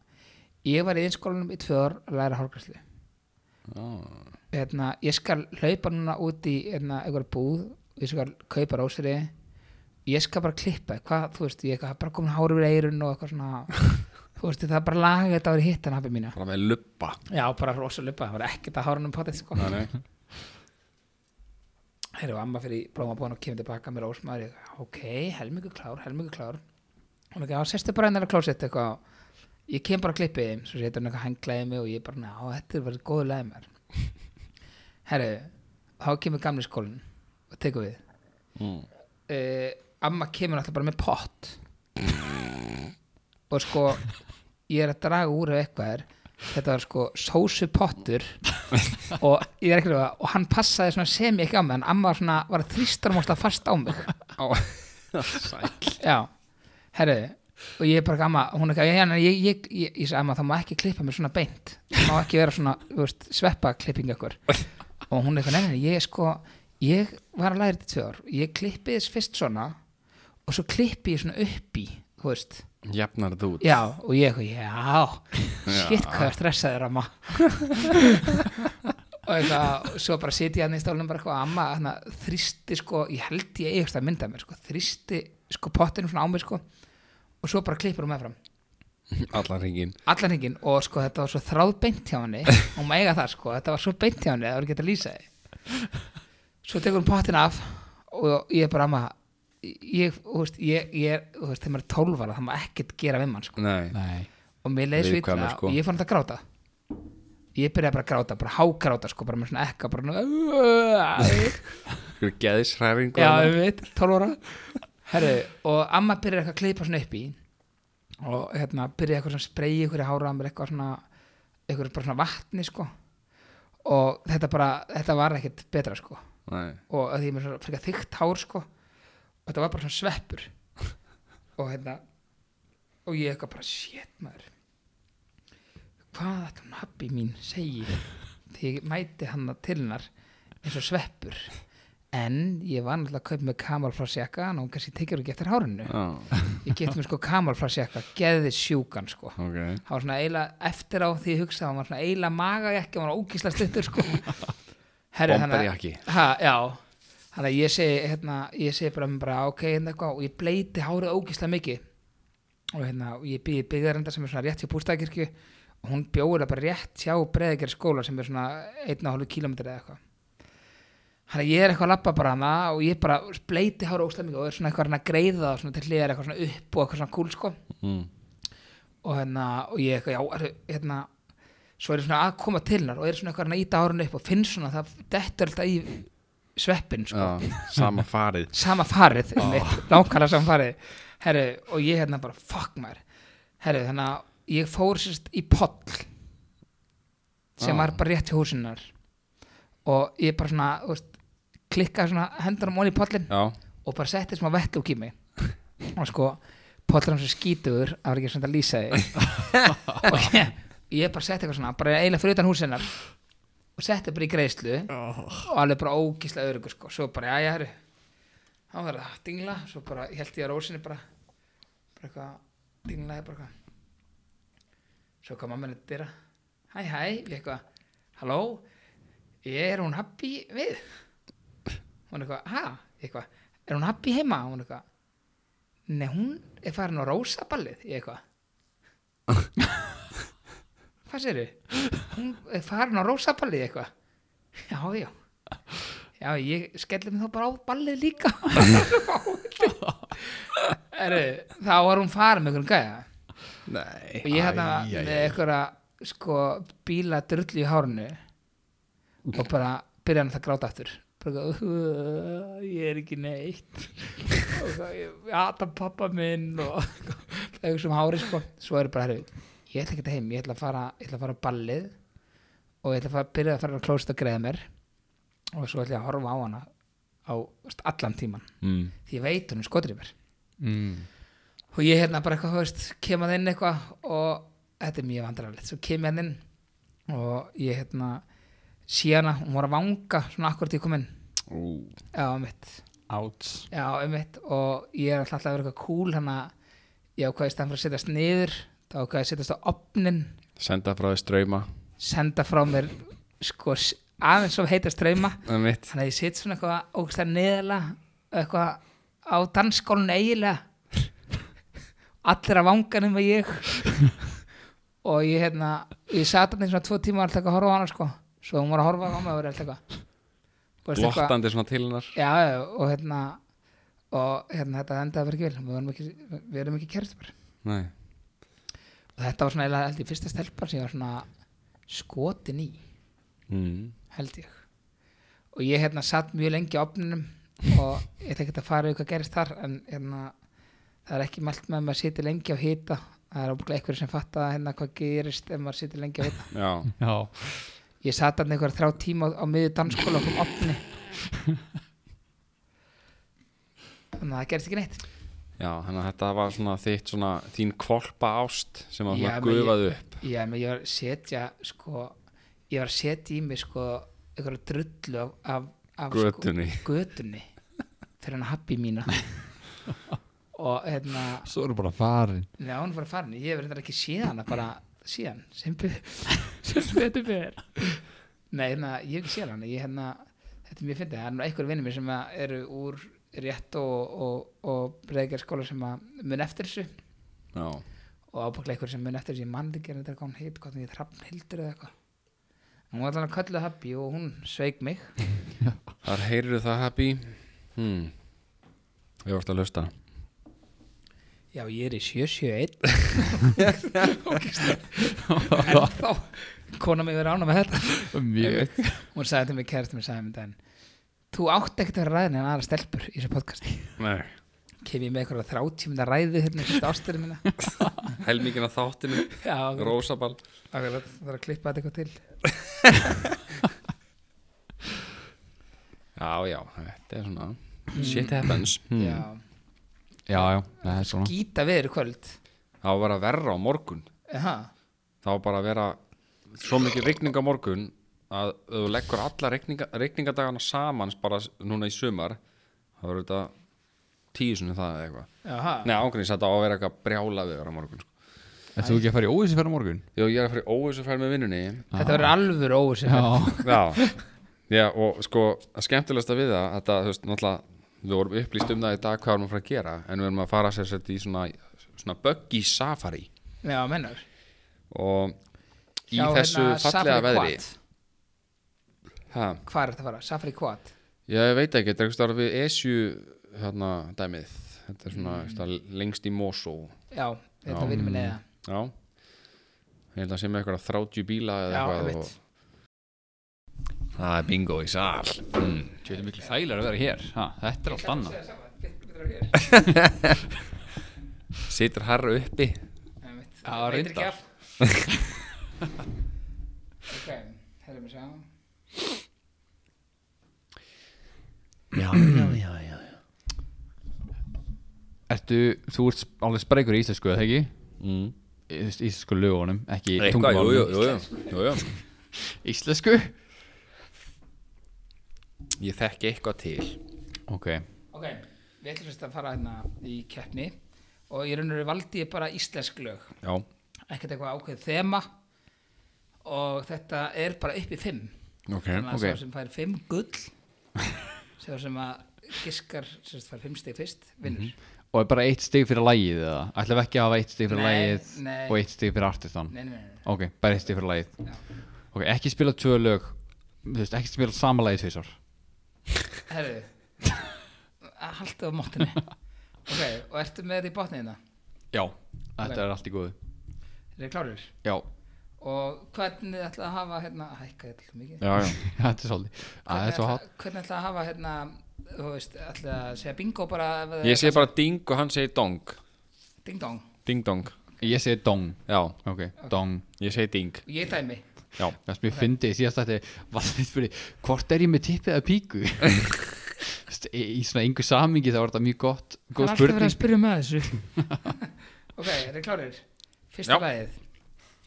A: ég var í einskólanum í tvö ár að læra hálfgræslu hérna, ég skal hlaupa núna út í hérna, einhver búð ég skal kaupa rósiri ég skal bara klippa, þig, hvað, þú veist ég er bara komin hárið við eirun og eitthvað svona þú veist, það er bara laga þetta árið hitt en hafið mína,
C: Bara með luppa
A: já, bara rosa lupa það var ekkert að hárunum potið, sko
C: Nei, nei
A: Þeir eru amma fyrir blómabóðan og kemur tilbaka með rósmaður ég, ok, helmingu klár, helmingu klár hún er ekki, já, sérstu bara hennar að klósett eitthvað ég kem bara að klippi þeim svo setur hann eitthvað henglaði mig og ég bara, já, þetta er verið góðu lagið mér herru, þá kemur gamli skólin og tekur við
C: Mm.
A: uh, amma kemur alltaf bara með pott og sko ég er að draga úr ef eitthvað er þetta var sko sósupottur og ég er ekki að og hann passaði svona sem ég ekki á mig en amma var svona, var að þrýstarmósta fast á mig já, herru og ég er bara gamma, hún er ekki að ég, ég, ég, ég, ég sagði amma, þá má ekki klippa mér svona beint það má ekki vera svona, þú veist, sveppa klipping ykkur og hún er eitthvað nefnir, ég sko ég var að læra þetta í tvö ár ég klippi þess fyrst svona og svo klippi ég svona upp í þú veist,
C: Jafnar þetta út
A: já, og ég eitthvað, já, shit hvað er stressaður amma og eitthvað, og svo bara sitja hann í stólnum bara eitthvað, amma, hann þrýsti sko, ég held ég eigast að mynda mér sko, þrýsti sko pottinu svona á mig sko og svo bara klippur hún meðfram
C: Allan ringin
A: allan hringin og sko þetta var svo þráð beint hjá henni og maður eiga það sko, þetta var svo beint hjá henni það var ekki að lýsa því svo tekur hún pottin af og ég er bara amma ég, þú veist, ég, ég, er- þú veist, þegar maður er tólfara það maður ekkert gera við mann sko
C: Nei,
D: Nei,
A: og mér leiði svo illa
C: Viðkvæmur, sko.
A: og ég fann þetta að gráta ég byrjaði bara að gráta, bara hágráta sko, bara með svona ekka bara, svona-
C: ykkur geðisræfingu
A: já, við veit, 12 ára herru, og amma byrjaði eitthvað að klippa svona upp í og hérna byrjaði eitthvað svona spreyi ykkur í hára mér eitthvað svona, eitthvað bara svona vatni sko og þetta bara, þetta var ekkert betra sko
C: Nei,
A: og að því ég er með svona frekar þykkt hár sko og þetta var bara svona sveppur og hérna og ég eitthvað bara shit maður hvað þetta hún happi mín segi þegar ég mæti hann að tilnar eins og sveppur en ég var náttúrulega að kaupa með kamalflarsjaka en hún kannski tekjur ekki eftir hárinu
C: já,
A: ég geti mér sko kamalflarsjaka geði sjúkan sko
C: ok
A: það var svona eila eftir á því ég hugsaði hann var svona eila magajakki, hann var ógísla stuttur sko Herri, þannig að-
C: Bomberjakki.
A: ha, já, þannig að ég segi hérna, ég segi bara, bara ok, hérna eitthvað og ég bleiti hárið ógislega mikið og hérna, og ég býði byggðarenda sem er svona rétt hjá bústækirkju og hún bjóður bara rétt hjá breðikir skóla sem er svona 1,5 km eða eitthvað Þannig að ég er eitthvað að labba bara hana og ég bara bleiti hára óslega mikið og er svona eitthvað að reyna að greiða það og svona til hliðar eitthvað svona upp og eitthvað svona kúl sko
C: Mm.
A: og hérna og ég eitthvað já, er, hérna svo er ég svona að koma til hennar og er svona eitthvað að reyna að íta hárun upp og finn svona það dettur alltaf í sveppin sko
C: Já, sama farið
A: sama farið oh. nákvæmlega sama farið herru, og ég hérna bara fuck maður herru, þannig að ég fór sérst í poll sem var bara rétt hjá húsinnar og ég bara svona þú veist, klikkaði svona hendurum onni í pollin
C: Já,
A: og bara setti smá vettlúk í mig og sko, pollin sem skítur það var ekki svona að lýsa því og ég, ég bara setti eitthvað svona bara eiginlega fyrir utan húsinnar og setti bara í greiðslu og alveg bara ógíslega örugur sko, svo bara, já, já, herru þá var það dingla, svo bara held ég að rósinni bara bara eitthvað dinglaði bara eitthvað svo kom mamma henni til dyra hæ hæ, ég eitthvað, halló er hún happy við hún eitthvað, ha Ég eitthvað, er hún happy heima hún eitthvað, nei hún er farin á rósaballið, ég eitthvað hvað sérðu hún er farin á rósaballið ég eitthvað, já já Já, ég skelli mig þá bara á ballið líka Heru, Þá var hún farin með einhvern gæja
C: nei
A: og ég hérna með einhverja sko bíla drullu í hárinu og bara byrja hann að gráta aftur bara eitthvað, ég er ekki neitt og það ég ata pappa minn og það er sem hári sko svo er bara, herri, ég ætla ekki þetta heim ég ætla að fara, ég ætla að fara á ballið og ég ætla að fara, byrja að fara að klósta að greiða mér og svo ætla ég að horfa á hana á þú veist, allan tíman
C: mm.
A: því ég veit hún er skotrið mér
D: mm.
A: og ég hérna bara eitthvað, þú veist, kem að inn eitthvað og þetta er mjög vandrarlegt svo kem ég að inn og ég hérna sé hana, hún var að vanga svona akkurat ég kom inn já, um mitt,
D: Outs
A: já, um mitt og ég er alltaf að vera eitthvað cool hana ég ákvæðist hann fyrir að setjast niður þá ákvæði að setjast á opnin
C: Senda frá því ströyma
A: senda frá mér sko s- aðeins svo heita streyma
C: Það er mitt
A: þannig að ég sitt svona eitthvað ógstæðan neðalega eitthvað á dansskólinu eiginlega allir að vanga nema ég og ég hérna ég sat hann í svona tvo tíma og alltaf að horfa á hana sko svo hún var að horfa á mig og var alltaf eitthvað Þú veist, eitthvað-
C: Lottandi svona til hennar
A: já, já, og hérna og hérna þetta endaði verið ekki vel við erum ekki, við erum ekki kært bara
C: Nei
A: og þetta var svona eiginlega held ég fyrsta stelpan sem ég var svona skotin í
C: mm.
A: held ég og ég hérna satt mjög lengi á opninum og ég ætla ekki að fara yfir hvað gerist þar en hérna það er ekki mælt með að maður siti lengi á hita það er óbúinlega einhverjum sem fatta hérna hvað gerist ef maður siti lengi á hita
C: Já
D: Já
A: ég satt hann einhverja þrjá tíma á, á miðju dansskóla og kom opni þannig að það gerist ekki neitt
C: Já, þannig að þetta var svona þitt svona þín kvolpa ást sem að
A: Já,
C: svona
A: menn
C: gufað
A: ég-
C: upp
A: Já, menn ég var að setja sko, ég var að setja í mig sko einhverja drullu af, af, af
C: Götunni.
A: sko, götunni fyrir hann happy mína og hérna
D: Svo eru bara farin
A: já, hún var farin, ég hef reyndar ekki séð hana bara síðan, sem byrð sem betur byrð Nei, hérna, ég hef ekki séð hana ég hérna, þetta er mjög fyndið, það er nú einhver vinnir mér sem að eru úr rétt og, og, og breyðgar skóla sem að mun eftir þessu
C: Já,
A: og ábygglega einhver sem mun eftir þessi mann ekki en þetta er hvað hún heit, hvað hún heit Hrafnhildur eða eitthvað hún var allan að köllu happy og hún sveik mig
C: þar heyriru það happy hmm. Ég vorst að hlusta
A: já ég er í 771 en þá kona mig verið ána með þetta
D: Mjög
A: hún sagði til mig kærast mér sagði mér daginn þú átt ekkert að vera ræðin en aðra stelpur í þessu podcasti
C: Nei
A: kem ég með eitthvað þráttíminda ræðu hérna í fyrsta ástöru minna
C: Helmingin af þáttinu
A: já, akkurat,
C: Rósaball
A: akkurat, það er að klippa þetta eitthvað til
C: Já, já, þetta er svona Shit happens
A: já,
D: Já, já, það er svona
A: gýta viður í kvöld
C: Það var bara verra á morgun
A: Aha.
C: Það var bara að vera Svo mikið rigning á morgun Að ef þú leggur alla rigninga, rigningadagana samans Bara s- núna í sumar Það var þetta tíu sinni það eða eitthvað
A: Aha.
C: Nei, ángríns þetta á að vera eitthvað brjála við á morgun sko.
D: Ert þú ekki að fara í óvissi fyrir morgun?
C: Jó, ég er að fara í óvissu fær með vinnunni
A: þetta verður alvöru óvissi
D: Já
C: Já Já, og sko, að skemmtilegsta við það að það, þú veist, náttúrulega við vorum upplýst um það í dag hvað erum að fara að gera en við erum að fara sér sett í svona, svona buggy safari
A: já, mennur
C: og í þessu
A: hérna,
C: fallega veðri ha,
A: hvað er þetta að fara? Safari Quad
C: já, ég veit ekki, þetta er eitthvað við Esju hérna, dæmið þetta er svona mm. lengst í Mosó
A: já, þetta vinnum við neða
C: já ég held að sé með eitthvað 30 bíla
A: Já,
C: eða
A: einmitt.
C: eitthvað og... það er bingo í sal mm.
D: Þetta er miklu þægilega að vera hér ha, Þetta er allt annað
C: situr herra uppi
D: Já,
A: það veitir ekki
D: reyndar.
A: af ok, herrið mér sjá
D: Ertu, þú ert alveg spreikur í íslensku, eða ekki?
C: mm.
D: Í- þú veist, Íslensku lögunum, ekki
C: eitthvað, jú,
D: tungumálunum
C: jú, jú, jú, jú, jú.
D: Íslensku?
C: ég þekki eitthvað til
D: Ok,
A: Ok, við ætlum sérst að fara hérna í keppni og í raun og veru valdi ég bara íslensk lög,
C: já,
A: ekkert eitthvað ákveðið þema og þetta er bara upp í fimm.
C: ok,
A: Þannig að
D: ok.
A: sá sem fær fimm gull, sá sem að giskar sérst fær fimm stig fyrst, vinnur.
D: og er bara eitt stig fyrir lagið eða? Ætlum við ekki að hafa eitt stig fyrir
A: Nei,
D: lagið
A: nei.
D: og eitt stig fyrir artistan?
A: Nei, nei, nei, nei.
D: Ok, bara eitt stig fyrir lagið
A: Já.
D: Ok, ekki spila tvö lög Þú veist, ekki spila sama lagið tvisar
A: Herðu, að halda á móttinni. Ok, og ertu með þetta í botnið hérna?
D: Já Þetta er allt í góðu
A: Er þið klárir?
D: Já,
A: Og hvernig ætlaði að hafa hérna, hækka þetta mikið?
C: já, já
D: þetta er svolítið Æ, Þetta er
A: Hvernig ætla-
D: svo hátt
A: hvernig ætla að hafa hérna þú veist, ætla að segja bingo bara ef það
C: ég
A: er
C: segi bara ding og hann segi dong
A: ding dong
C: ding dong,
D: Ég segi dong
C: já,
D: Ok, dong
C: ég segi ding
A: og ég dæmi
C: já,
D: Það sem ég fyndi í síðast þetta var það spyrir Hvort er ég með tippið eða píku? Þú veist, í í svona engu samingi það var þetta mjög gott Góð spurning
A: spyrja með þessu ok, er þið klárir? fyrsta
C: Já.
A: lagið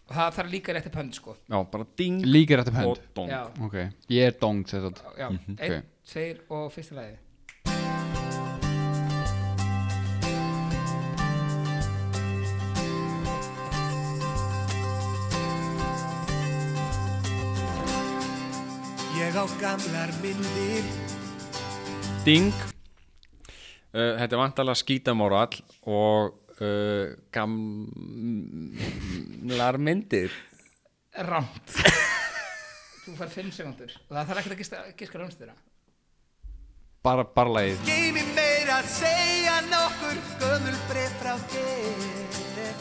A: og það þarf líka rétti pönd sko
C: já, bara ding
D: Líkir þetta um
C: og
D: hönd
C: dong
A: já,
D: Ok, ég er dong þess að
A: já,
D: Mhm, ok.
A: einn, tveir og fyrsta lagið
F: Ég á gamlar myndir
C: Ding uh, Þetta er vantalega skítamóral og uh, gamlar myndir
A: rámt þú fær fimm sekundur og það þarf ekkert að giska rámstöðra
D: Bara, bara lagið
F: Geimi meira að segja nokkur Gömul bref frá þér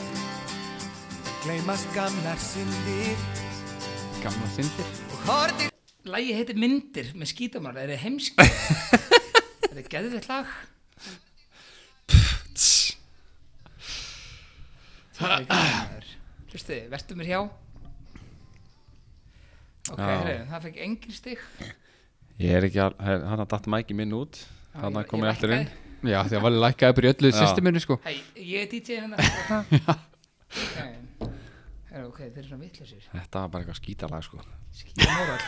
F: Gleimast gamlar syndir
D: Gamla syndir
F: Og hortir
A: lagið heitir myndir með skítamál er þið heimski er þið geðvitt lag Hlusti, vertu mér hjá Ok,
C: Já.
A: heyrðu, það fekk engin stig
C: Ég er ekki að, hann að datt mæki minn út
A: Já, ég-
C: Þannig að
A: ég
C: komið eftir
A: lækkaði.
C: inn
D: Já, því að var lækkaði bara í öllu
C: Já.
D: systeminu sko
A: Hei, ég er DJ hérna Ok, Heyrðu, ok, þeir eru svona vitlausir
C: Þetta var bara eitthvað skítalag sko
A: Skýra móral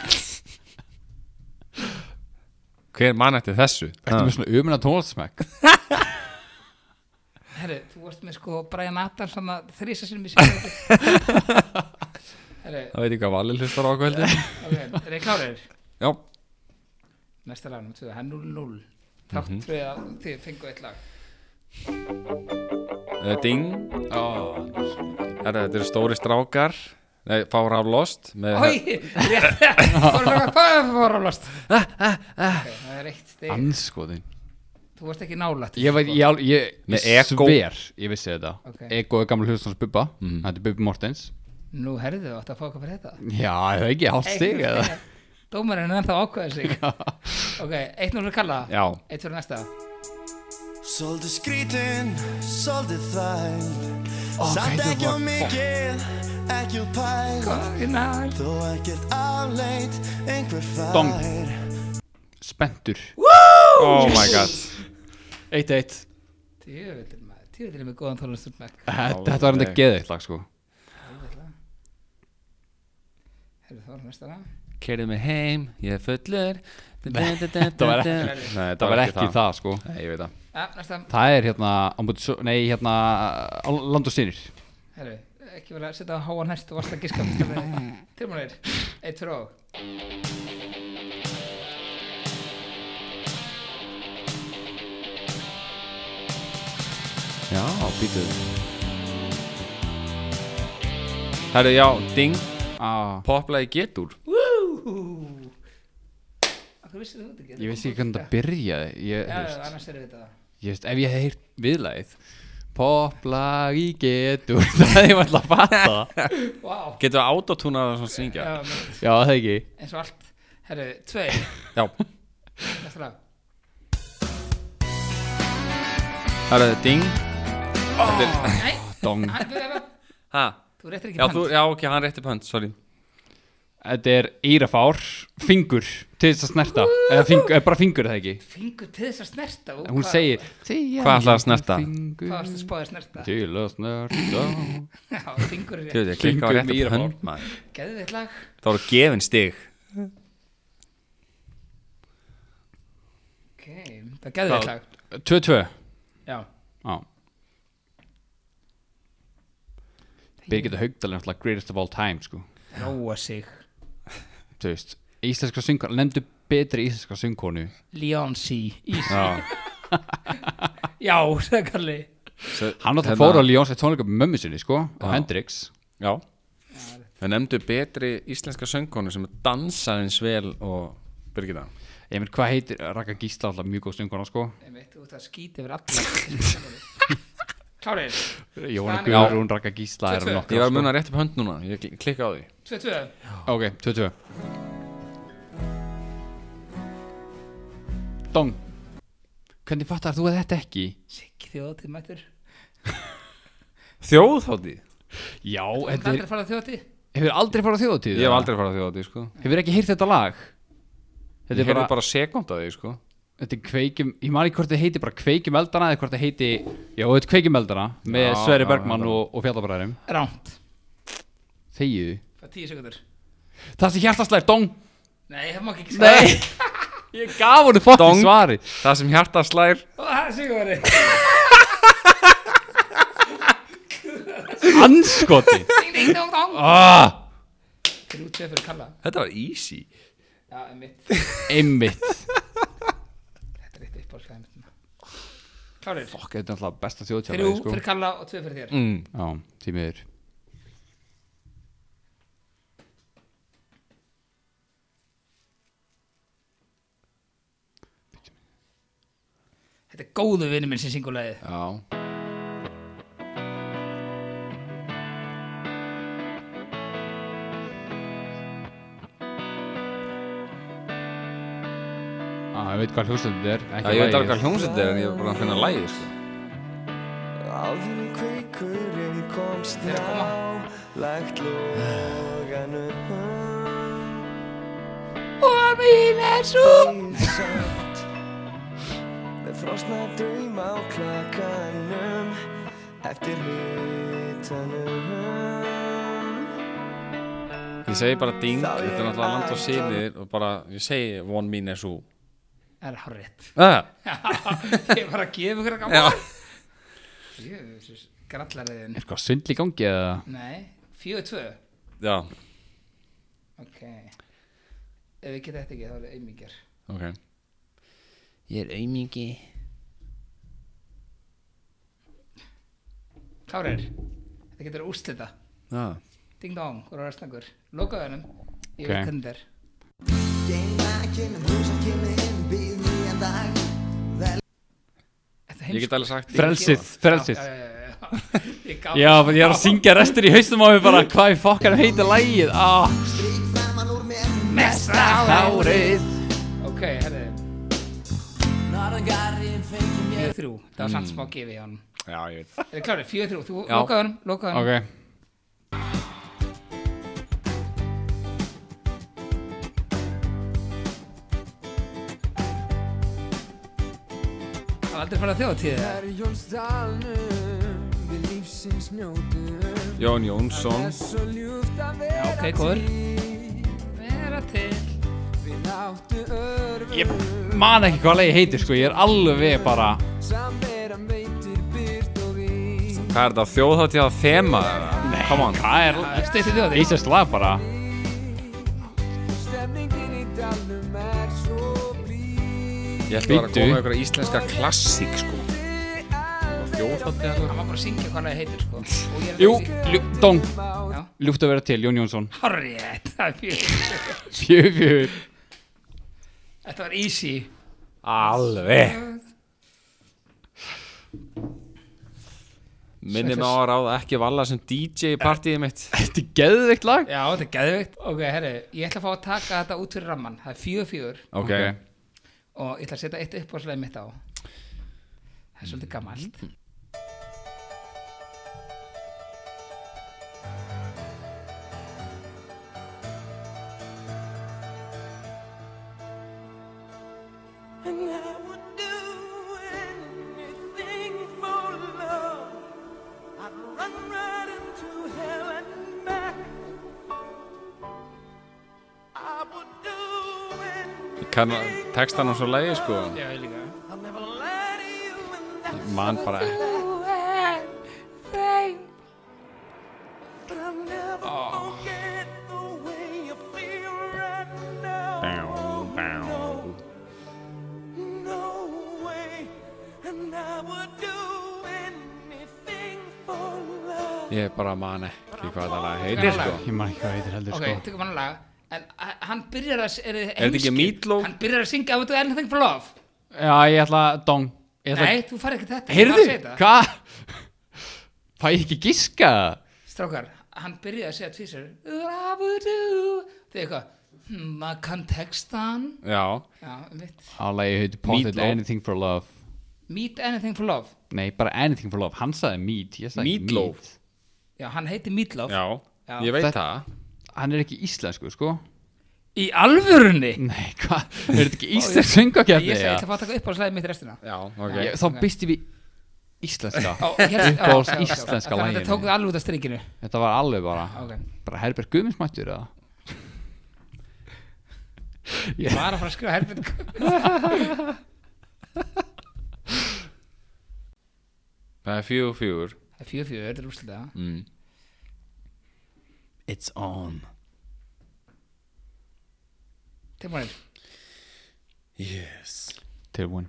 C: Hver mann eftir þessu?
D: Ertu með svona umina tónaldsmæk
A: Herru, þú varst með sko Brian Adams svona þrísa sinni mér sér Herru,
C: Það veit ég hvað valið hlustar á okkur heldur
A: ok, er þið klárir?
C: Já,
A: Næsta lag, náttúrulega, hann 0-0
D: Mhm.
A: Þátt mm fyrir að þið fengu eitt lag
C: uh, ding Herra, Þetta eru stóri strákar Nei, fára af lost með,
A: Hói, rétt Fórumlega, hvað fórumlast?
D: Ah,
A: Ok, það er eitt stig
D: Anskoðin
A: Þú varst ekki nálætt
D: Ég veit, ég, al- ég,
C: Með
D: ég
C: Ego. Mhm.
D: sver, ég vissi þetta
A: Ok.
D: Ego er gamla hlustans Bubba, þetta er Bubbi Mortens
A: Nú herðu þú átt að fá okkur fyrir þetta
D: Já, það er ekki hálft stig eða
A: Dómarinn er ennþá ákveðið sig Ok, eitt núna kalla
C: Já.
A: Eitt fyrir næsta
F: Svolítið skrítin, svolítið þæl Samt
D: þetta
F: ekki á
D: var
F: mikið, ekki úr pæl
A: Kardinal
F: Þó ekkert afleit, einhver fær
D: Dong. Spendur
C: Oh my god
D: 1-1
A: Tjöfellin maður, tjöfellin með góðan þólanstundmæk
D: Þetta þetta var enda
C: Alveg.
D: geðið lag sko
A: Herðu þá er næsta lag
C: Kerið mig heim, ég er fullur
D: Þetta var ekki,
C: Nei,
D: það var ekki það sko
C: Nei, ég veit það
A: Ja, næsta
D: Það er hérna, á móti, svo- nei hérna á Land og sinir
A: Herru, ekki verið að setja á háan hest og varst að giska Tilmúnir, eitt fyrir og
C: Já, býtu Herru, já, ding
D: ah,
C: Poplaði getur
A: Woo! Akkur vissir þú þetta ekki?
D: Ég veist ekki hvernig þetta byrjaði
A: Já,
D: Ég,
A: já,
D: þú veist,
A: annars erum við þetta
D: ég veist, ef ég hef heyrt viðlæð Poplag í getur Það hefði ég alltaf að fatta
A: Vá,
C: Getur það autotúnað að svona syngja
A: já, mynd,
D: Já, það ekki
A: eins og allt Herru, tvei,
C: Já
A: næsta lag
C: Herru, ding
A: Nei,
D: Dong
A: hann- þú- þú-
C: Ha
A: þú réttir ekki
C: Já, þú,
A: pönd
C: já, ok, hann rétti pönt, sorry
D: Þetta er eirafár Fingur Til þess að snerta Eða fingur, eða bara fingur er það ekki
A: Fingur til þess að snerta og
D: En Hún
A: hvað-
D: segir
C: Hvað ætlaði að snerta?
A: Hvað
D: Fingur
A: varst að spáði að snerta?
D: Til að snerta
A: Já, fingur er
C: Þú
A: rétt
C: veit, ég klikka á
D: Fingur
C: rétti
D: meira
C: pönt, maður
A: Geðu þetta lag
C: Það voru gefin stig
A: Ok, það geðu þetta lag
D: 2-2
A: Já,
D: Já Birgitta Haugdal er náttúrulega greatest of all time sko
A: róa sig
D: Þú veist Íslenska söngkonu Nefndu betri íslenska söngkonu
A: Leonsi
C: Já
A: Já, sagði Karli
D: Hann náttúrulega fór á Ljóns eitt tónleika með mömmu sinni sko
C: Hérna- Já.
D: Hendrix
C: Já Það nefndu betri íslenska söngkonu sem dansar eins vel og Birgitta
D: Ég mynd hvað heitir Raka Gísla alltaf mjög góð söngkona sko
A: Einmitt, þú ert að skýta yfir allir Klárir
D: Jóhanna
A: Staðan er-
D: Guðrún Raka Gísla er
A: 2-2.
D: nokkra
C: Ég var að muna rétti pönt núna, ég kl- klikka á því
A: 2-2
D: Ok, 2-2 Dong Hvernig fattar þú að þetta ekki?
A: Siggi þjóðatíð mættur
C: Þjóðhátti?
D: Já,
A: Það er
D: þetta er
A: að fara þjóðatíð
D: Hefur aldrei farið á þjóðatíð?
C: Ég hef aldrei farað þjóðhátti, sko
D: Hefur ekki hýrt þetta lag? Þetta er
C: Ég hefði
D: bara,
C: bara sekund að því, sko
D: Þetta er kveikjum Ég man ekki hvort þetta heiti bara kveikjum eldana Eða hvort þetta heiti Já, þetta er kveikjum eldana Með
C: Já,
D: Sverri
C: já,
D: Bergmann
C: þetta.
D: og, og fjallabræðarum
A: Ránt
D: Þegiðu
A: Það er 10 sekundur
D: Það sem hjartaslæðir, dong
A: Nei, það má ekki
D: Nei Ég gaf honum fokkin
C: Dong.
D: svari
C: Það sem hjarta slær
A: Það er Sigurður
D: Anskoti
A: Ding, ding, dong, dong
D: ah,
A: Þrjú tvö fyrir Karla
C: Þetta var easy
A: Já, einmitt Þetta
D: Einmitt
A: er eitt uppáhaldslega einmitt Klárir
D: Fokk, sko. þetta er alltaf besta þjóðatíð
A: Þrjú fyrir Karla og tvö fyrir þér
C: mm.
D: Já, því miður
A: Þetta er góðu vinnu minn sem syngur lagið
C: Já
D: Já, Ah, ég veit hvað hljóðstönd þetta er ekki
C: Ég veit
D: lagið.
C: alveg hvað hljómsveit er en ég er bara að finna lægið, sko
F: Áður en kveikurinn komst ná Lægt lóganu
A: Og mín er svo
F: Ísamt Með frosna drauma á klakanum Eftir hitanum
C: Ég segi bara ding, þetta er náttúrulega land og síðir og bara, ég segi one mean is who
A: Það er hárétt
C: ah.
A: Ég var að gefa ykkur að
C: Já
A: gamla Jöfus, grallariðin
D: Er hvað svindl í gangi eða?
A: Nei, fjögur tvö
C: Já,
A: Ok Ef við geta þetta ekki þá er það auðmíkjar
C: ok
E: Ég er auðmiki
A: Klárir, þetta getur úrslita
C: Já
A: Ding dong, hvað er snakkur Lokaðu hennum, ég
D: Ok.
A: veit hvernig þetta er Þetta er
C: Ég get
A: heimsko-
C: alveg sagt ding.
D: Frelsið, frelsið
A: Já, já, já, já, já. Ég gaf-
D: Já, ég er að syngja restur í haustum á mig bara Hvað er fokkar heita lægið? Ah,
A: Mesta árið Ok, herri Fjögur þrjú, það var samt smá
D: Mm.
A: gefið hjá hann
C: Já, ég veit
A: Er þið klárið? Fjögur þrjú, þú
C: Já.
A: lokaðu hennum, lokaðu hennum
D: ok
A: Það var aldrei farið að þjóðatíð eða?
C: Jón Jónsson
A: Já, ok, góður Vera til
D: Ég man ekki hvað lægið heitir sko Ég er alveg bara
C: Hvað er þetta, þjóðhátti að þema? Nei Come on
D: Hvað er
A: Stýtti þjóði
D: Íslands lag bara?
C: Ég ætla bara að
D: Bíddu.
C: koma með ykkur íslenska klassík, sko ljóðfaldi
A: hann var bara að syngja hvað hann heitir sko og ég er
D: Jú,
A: ekki-
D: ljú, dong
A: Já.
D: Ljúft að vera til, Jón Jónsson
A: Hárrétt, það er fjögur.
D: Fjögur, fjögur
A: Þetta var easy
C: Alveg Minni mig á að ráða ekki valla sem DJ í partíið mitt
D: Þetta er geðveikt lag
A: Já, þetta er geðvikt Ok, herri, ég ætla að fá að taka þetta út fyrir ramman Það er fjögur fjögur
C: Ok,
A: og ég ætla að setja eitt uppáðslega mitt á Það er svolítið gammalt
G: And I would do anything for love. I'd run right into hell and back. I would do anything.
C: ég kann textan á svo leiði sko
A: Já, ég líka
G: I'll never lie to you, and that's
C: Man bara
G: But I'll never forget the way you feel right now. No, no way. And I would do anything for love.
C: Ég bara man ekki hvað það lag heitir sko
D: Ég maður ekki hvað heitir heldur
A: Ok,
D: sko
A: tökum hann lag En h- hann byrjar að Er
C: þetta ekki Meatloaf?
A: Hann byrjar að syngja I would do anything for love
D: Já, ég ætla, dong Ég ætla,
A: Nei, þú farið ekki þetta ég
D: heyrðu,
A: var að segja þetta.
D: hvað? Fæ ég ekki giska það?
A: Strákar, hann byrjaði að segja tvísar I would do Þegar eitthvað Hmm, maður kann textan
C: Já,
A: Já, um mitt
D: Á lagi heitir Potted
C: Meatloaf.
D: Anything for Love
A: Meet anything for love
D: Nei, bara Anything for Love Hann sagði meat, ég sagði meat
C: Meatloaf.
A: Já, hann heiti Meatloaf
C: já,
A: Já.
C: ég veit
D: Þetta-
C: það
D: Hann er ekki íslensku, sko
A: Í alvörunni
D: Nei, hvað? Er þetta ekki íslensk söngakefni?
A: Ég segi, ég ætla að fá að taka upp á slæðið mitt restina
C: Já, ok
D: Ég- Þá býst ég við íslenska
A: Ó, hér- já,
D: Uppáhalds
A: já, já, já.
D: íslenska
A: Þannig að
D: laginu.
A: Þetta tók það alveg út af strikinu
D: Þetta var alveg bara
A: Ok,
D: Bara Herbert Guðmundsmættur eða?
A: bara að fara að skrifa herfið
C: Það er fjögur fjögur
A: Fjögur fjögur, þetta er úrslega
C: mm.
D: It's on
A: Tilbúinir
C: Yes
D: Tilbúin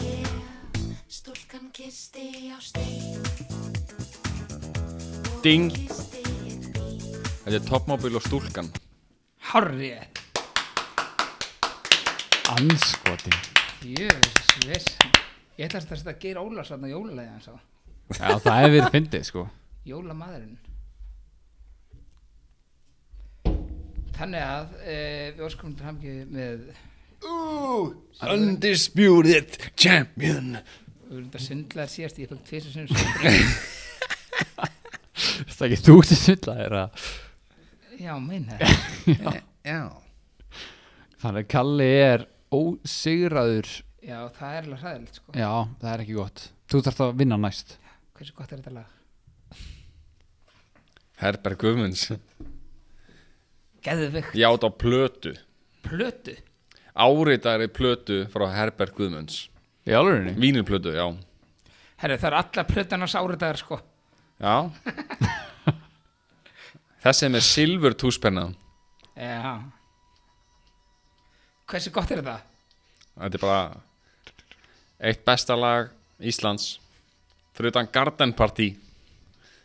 E: Yeah, stúlkan kisti á stein
C: Ding
E: Kisti í bíl
C: Þetta er Topmobil og stúlkan
A: Hárri
D: Anskoti
A: Jöfus, viss Ég ætla að þetta geir Óla svona jólulegið hans á
D: Já, það hefur verið fyndið, sko
A: Jólamadurinn Þannig að e, við óskum til hamki með
C: Undisputed champion
A: við erum þetta sundlaðar síðast ég fæk tvisar sinni
D: Það ekki þú til svilla er að
A: Já, meina það
D: Þannig að Kalli er ósigraður
A: Já, það er alveg hræðilegt sko
D: Já, það er ekki gott Þú þarft að vinna næst
A: Hversu gott er þetta lag?
C: Herberg Guðmunds
A: Geðvig
C: Ég át á plötu
A: Plötu
C: Áritari plötu frá Herberg Guðmunds
D: Í alvegurinni?
C: Vínilplötu, já
A: Herru, það eru allar plötunars áritaðar sko
C: Já Þessi er með silfur túspenna
A: Já Hversu gott er þetta?
C: Þetta er bara Eitt besta lag Íslands Fyrir utan Garden Party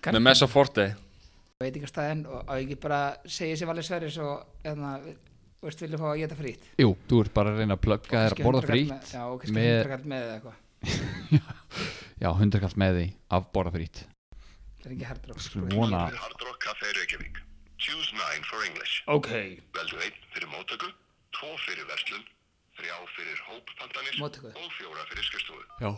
A: Garden-
C: Með Messa Forte
A: veitingastæðin og á ekki bara segja sér valið sverið svo eðna, hérna, veist, vilja fá að geta frýtt
D: Jú, þú ert bara að reyna að plugga þér að borða frýtt
A: já, og kannski
D: með-
A: hundrakall með eða eitthvað
D: Já, hundarkall með því af borða frýtt
A: það er ekki hardrock
D: Skulum vona
B: Hard Rock Café Reykjavík. Choose 9 for English.
A: ok,
B: Veldu einn fyrir móttöku, tvo fyrir verslun, þrjá fyrir hóppantanir
A: Móttöku.
B: og fjóra fyrir skrifstofu.
D: Já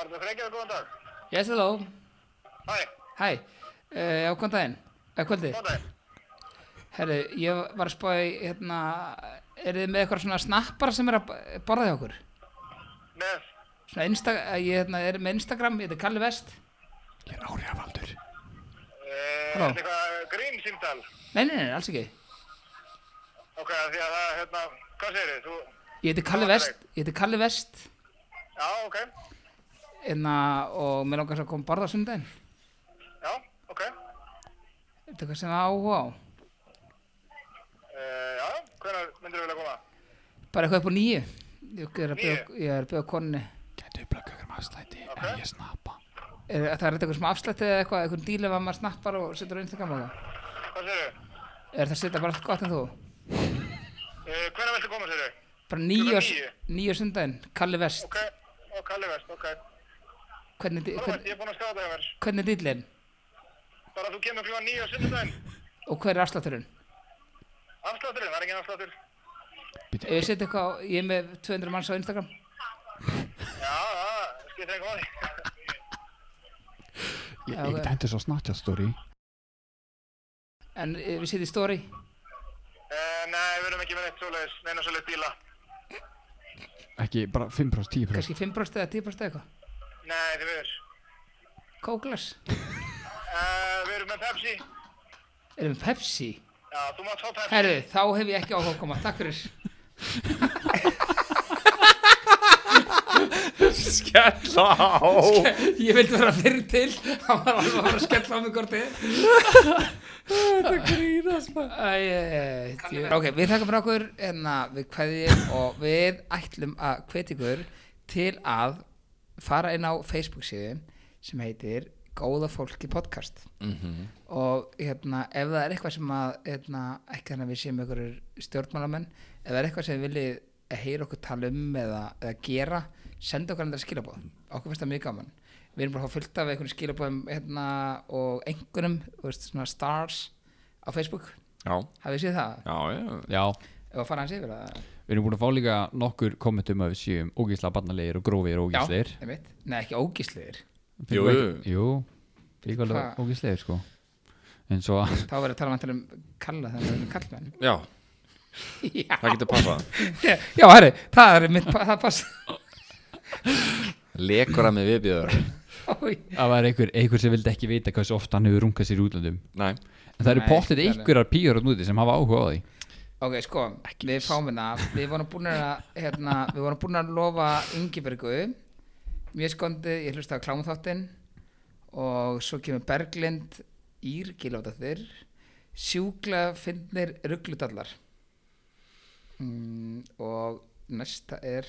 H: Arnur Frekjavík, góðan dag.
A: yes hello
H: Hæ,
A: hæ, uh, já, kom daginn eða kvöldið,
H: góðan dag.
A: herru, ég var að spá í hérna, er þið með eitthvað svona snappar sem er að b- borða hjá okkur
H: Með,
A: svona insta, eh, ég hérna, er með Instagram ég heiti Kalli Vest
D: Ég er áriðavaldur
H: eh, er
A: Halló.
H: þetta eitthvað grín símtal?
A: nei, nei, nei, alls ekki,
H: Ok, af því að það, hérna, hvað segir þið? Þú,
A: ég heiti Kalli Vest ég heiti Kalli Vest
H: já, ok,
A: hérna, og mér langar svo að koma að borða á sundaginn
H: já, ok.
A: Er þetta eitthvað sem það áhuga á?
B: Eh,
E: bara eitthvað upp á nýju ég er að bjóða-
B: Níu?
E: ég er að bjóða konni
B: Ok.
E: er, það er þetta eitthvað sem afslætti eða eitthvað eitthvað díl ef að maður snappar og setur á Instagram og það
B: Hvað séru?
E: er það að setja bara allt gott en þú
B: Uh, Hvernig viltu koma séru?
E: bara nýju á s-
B: níu?
E: níu á sundaginn, Kalli Vest
B: Ok, og Kalli Vest, ok.
E: hvernig,
B: Kalli
E: di-
B: Vest,
E: hvern,
B: ég er búin að skáða það hjá mér.
E: hvernig er dílinn
B: Bara þú kemur klíma nýja á sunnudaginn.
E: og hver er afslátturinn
B: Afslátturinn, það er engin afsláttur.
E: ef ég setja eitthvað, á- ég er með 200 manns á Instagram
B: Já, já, skiptir einhvern veginn.
E: Já, ok.
D: hendur svo snatja story
E: en eh, við setjum í story
B: Uh, nei, við erum ekki með neitt svoleiðis, neina svoleiðis bíla.
D: Ekki bara 5% 10%
E: kannski 5% eða 10% eða eitthvað
B: Nei, þið viður.
E: kóklas,
B: Uh, við erum með Pepsi.
E: erum við Pepsi
B: Já, þú mátt fá Pepsi.
E: herru, þá hef ég ekki áhuga að koma, takk fyrir
C: Skella á
E: ég vildi vera fyrir til hann var alveg að fara að skella á mig kortið þetta grínast Æ, ok, við þakkum frá okkur en við kveðjum og við ætlum að hvetja ykkur til að fara inn á Facebook síðan sem heitir Góða fólki podcast -hmm. og hérna, ef það er eitthvað sem að hérna, ekki þannig að við séum ykkur stjórnmálamenn, ef það er eitthvað sem við viljið heyra okkur tala um eða, eða gera, senda okkur andra skilabóð okkur finnst það mjög gaman við erum bara að fá fullt af einhvern skilabóðum hérna, og einhvernum, þú veist, svona stars á Facebook,
C: Já,
E: hafið séð það?
C: já, já
D: Já,
E: ef að fara hans yfir það?
D: við erum búin að fá líka nokkur kommentum að við séum ógísla barnalegir og grófir og ógíslir
E: einmitt, nei ekki ógísleir
D: Fengum
C: Jú, jú.
D: ekki- Jú, líka alveg
E: Hva?
D: ógíslir sko En svo
E: þá verður að tala vantar um kalla þannig að við erum kallmenn
C: Já,
E: já,
C: það getur passað
E: já herri, það er mitt, það passa
C: Lekur að mig viðbjöður
E: Ói.
D: það var einhver, einhver sem vildi ekki vita hversu oft hann hefur rungað sér í útlandum
C: Næ,
D: En það eru
E: Nei,
D: pottit
E: ekki
D: einhverjar píur á núti sem hafa áhuga á því
E: Ok, sko, við fáum hérna Við vorum búin að, hérna, við vorum búin að lofa Ingibergu Mjög skondið, ég hlusta á klámaþáttinn Og svo kemur Berglind Ír, gilóta þér Sjúkla finnir ruggludallar mm, Og næsta er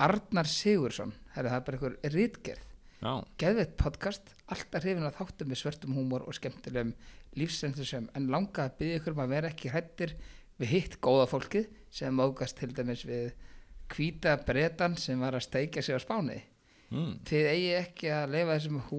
E: Arnar Sigursson Herra, það er bara einhver rítgerð
C: já
E: geðveitt podcast, alltaf hrifin að þáttum með svörtum húmor og skemmtilegum lífsreynslusum en langa að byggja ykkur um að vera ekki hrættir við hitt góða fólkið sem mókast til dæmis við hvíta bretan sem var að steikja sig á spáni. Mm. Þið eigi ekki að leifa þessum hú,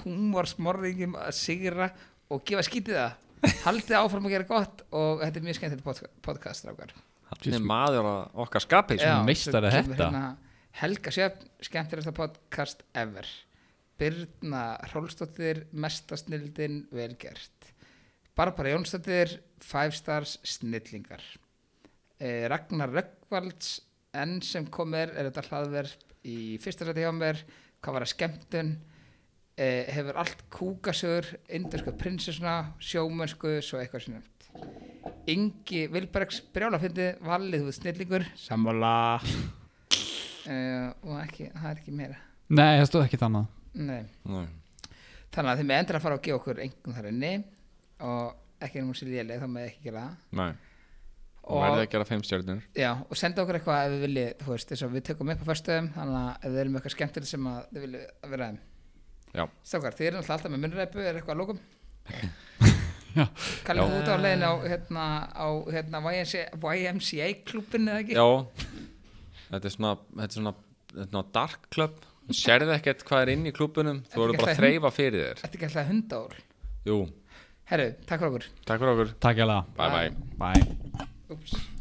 E: húmorsmorðingum að sigra og gefa skítið það. Haldið áfram að gera gott og þetta er mjög skemmtilegt podca- podcast, rákar.
C: Þetta er meður að okkar skapi sko.
E: Já,
D: meistari
E: svo
D: að
E: kemur
D: þetta.
E: hérna Helga Sjöfn, skemmtilegsta podcast ever Birna Rólsdóttir, mestasnildin velgert Barbara Jónsdóttir, Five Stars snillingar eh, Ragnar Röggvalds enn sem kom er, er þetta hlaðverð í fyrsta sæti hjá mér hvað var að skemmtun eh, hefur allt kúkasögur indörsku prinsessuna, sjómönsku svo eitthvað sem nefnt Ingi Vilbergs brjálafindi valið þú snillingur sammála uh, og ekki, það er ekki meira
D: Nei, það stóð ekki þannig
E: Nei.
C: Nei.
E: þannig að þið með endur að fara og gefa okkur engum þar inni og ekki erum hún sér léleg þá með ekki gera það
C: Nei, og verðið að
E: og,
C: gera fimm stjörnur
E: já, og senda okkur eitthvað ef við viljið, þú veist, þess að við tökum upp á fyrstöðum þannig að ef við erum eitthvað skemmtileg sem að þið viljið að vera þeim
C: Já.
E: Strákar, þið eru náttúrulega alltaf með munnreipu, er eitthvað að lókum?
D: Já.
E: Kallið þú út á leiðin á, hérna, á hérna, YMCA, YMCA klúbin eða ekki?
C: Já, þetta er svona, þetta er svona, þetta er svona dark club Þú Sérðu ekkert hvað er inn í klubunum Þú
E: Þetta
C: voru
E: er
C: bara að
E: ekki
C: þreyfa fyrir þér
E: Þetta er ekki alltaf hundár
C: Jú,
E: Herru, takk fyrir okkur
C: takk fyrir okkur
D: Takk ég alveg
C: Bye bye
D: Bye
E: Úps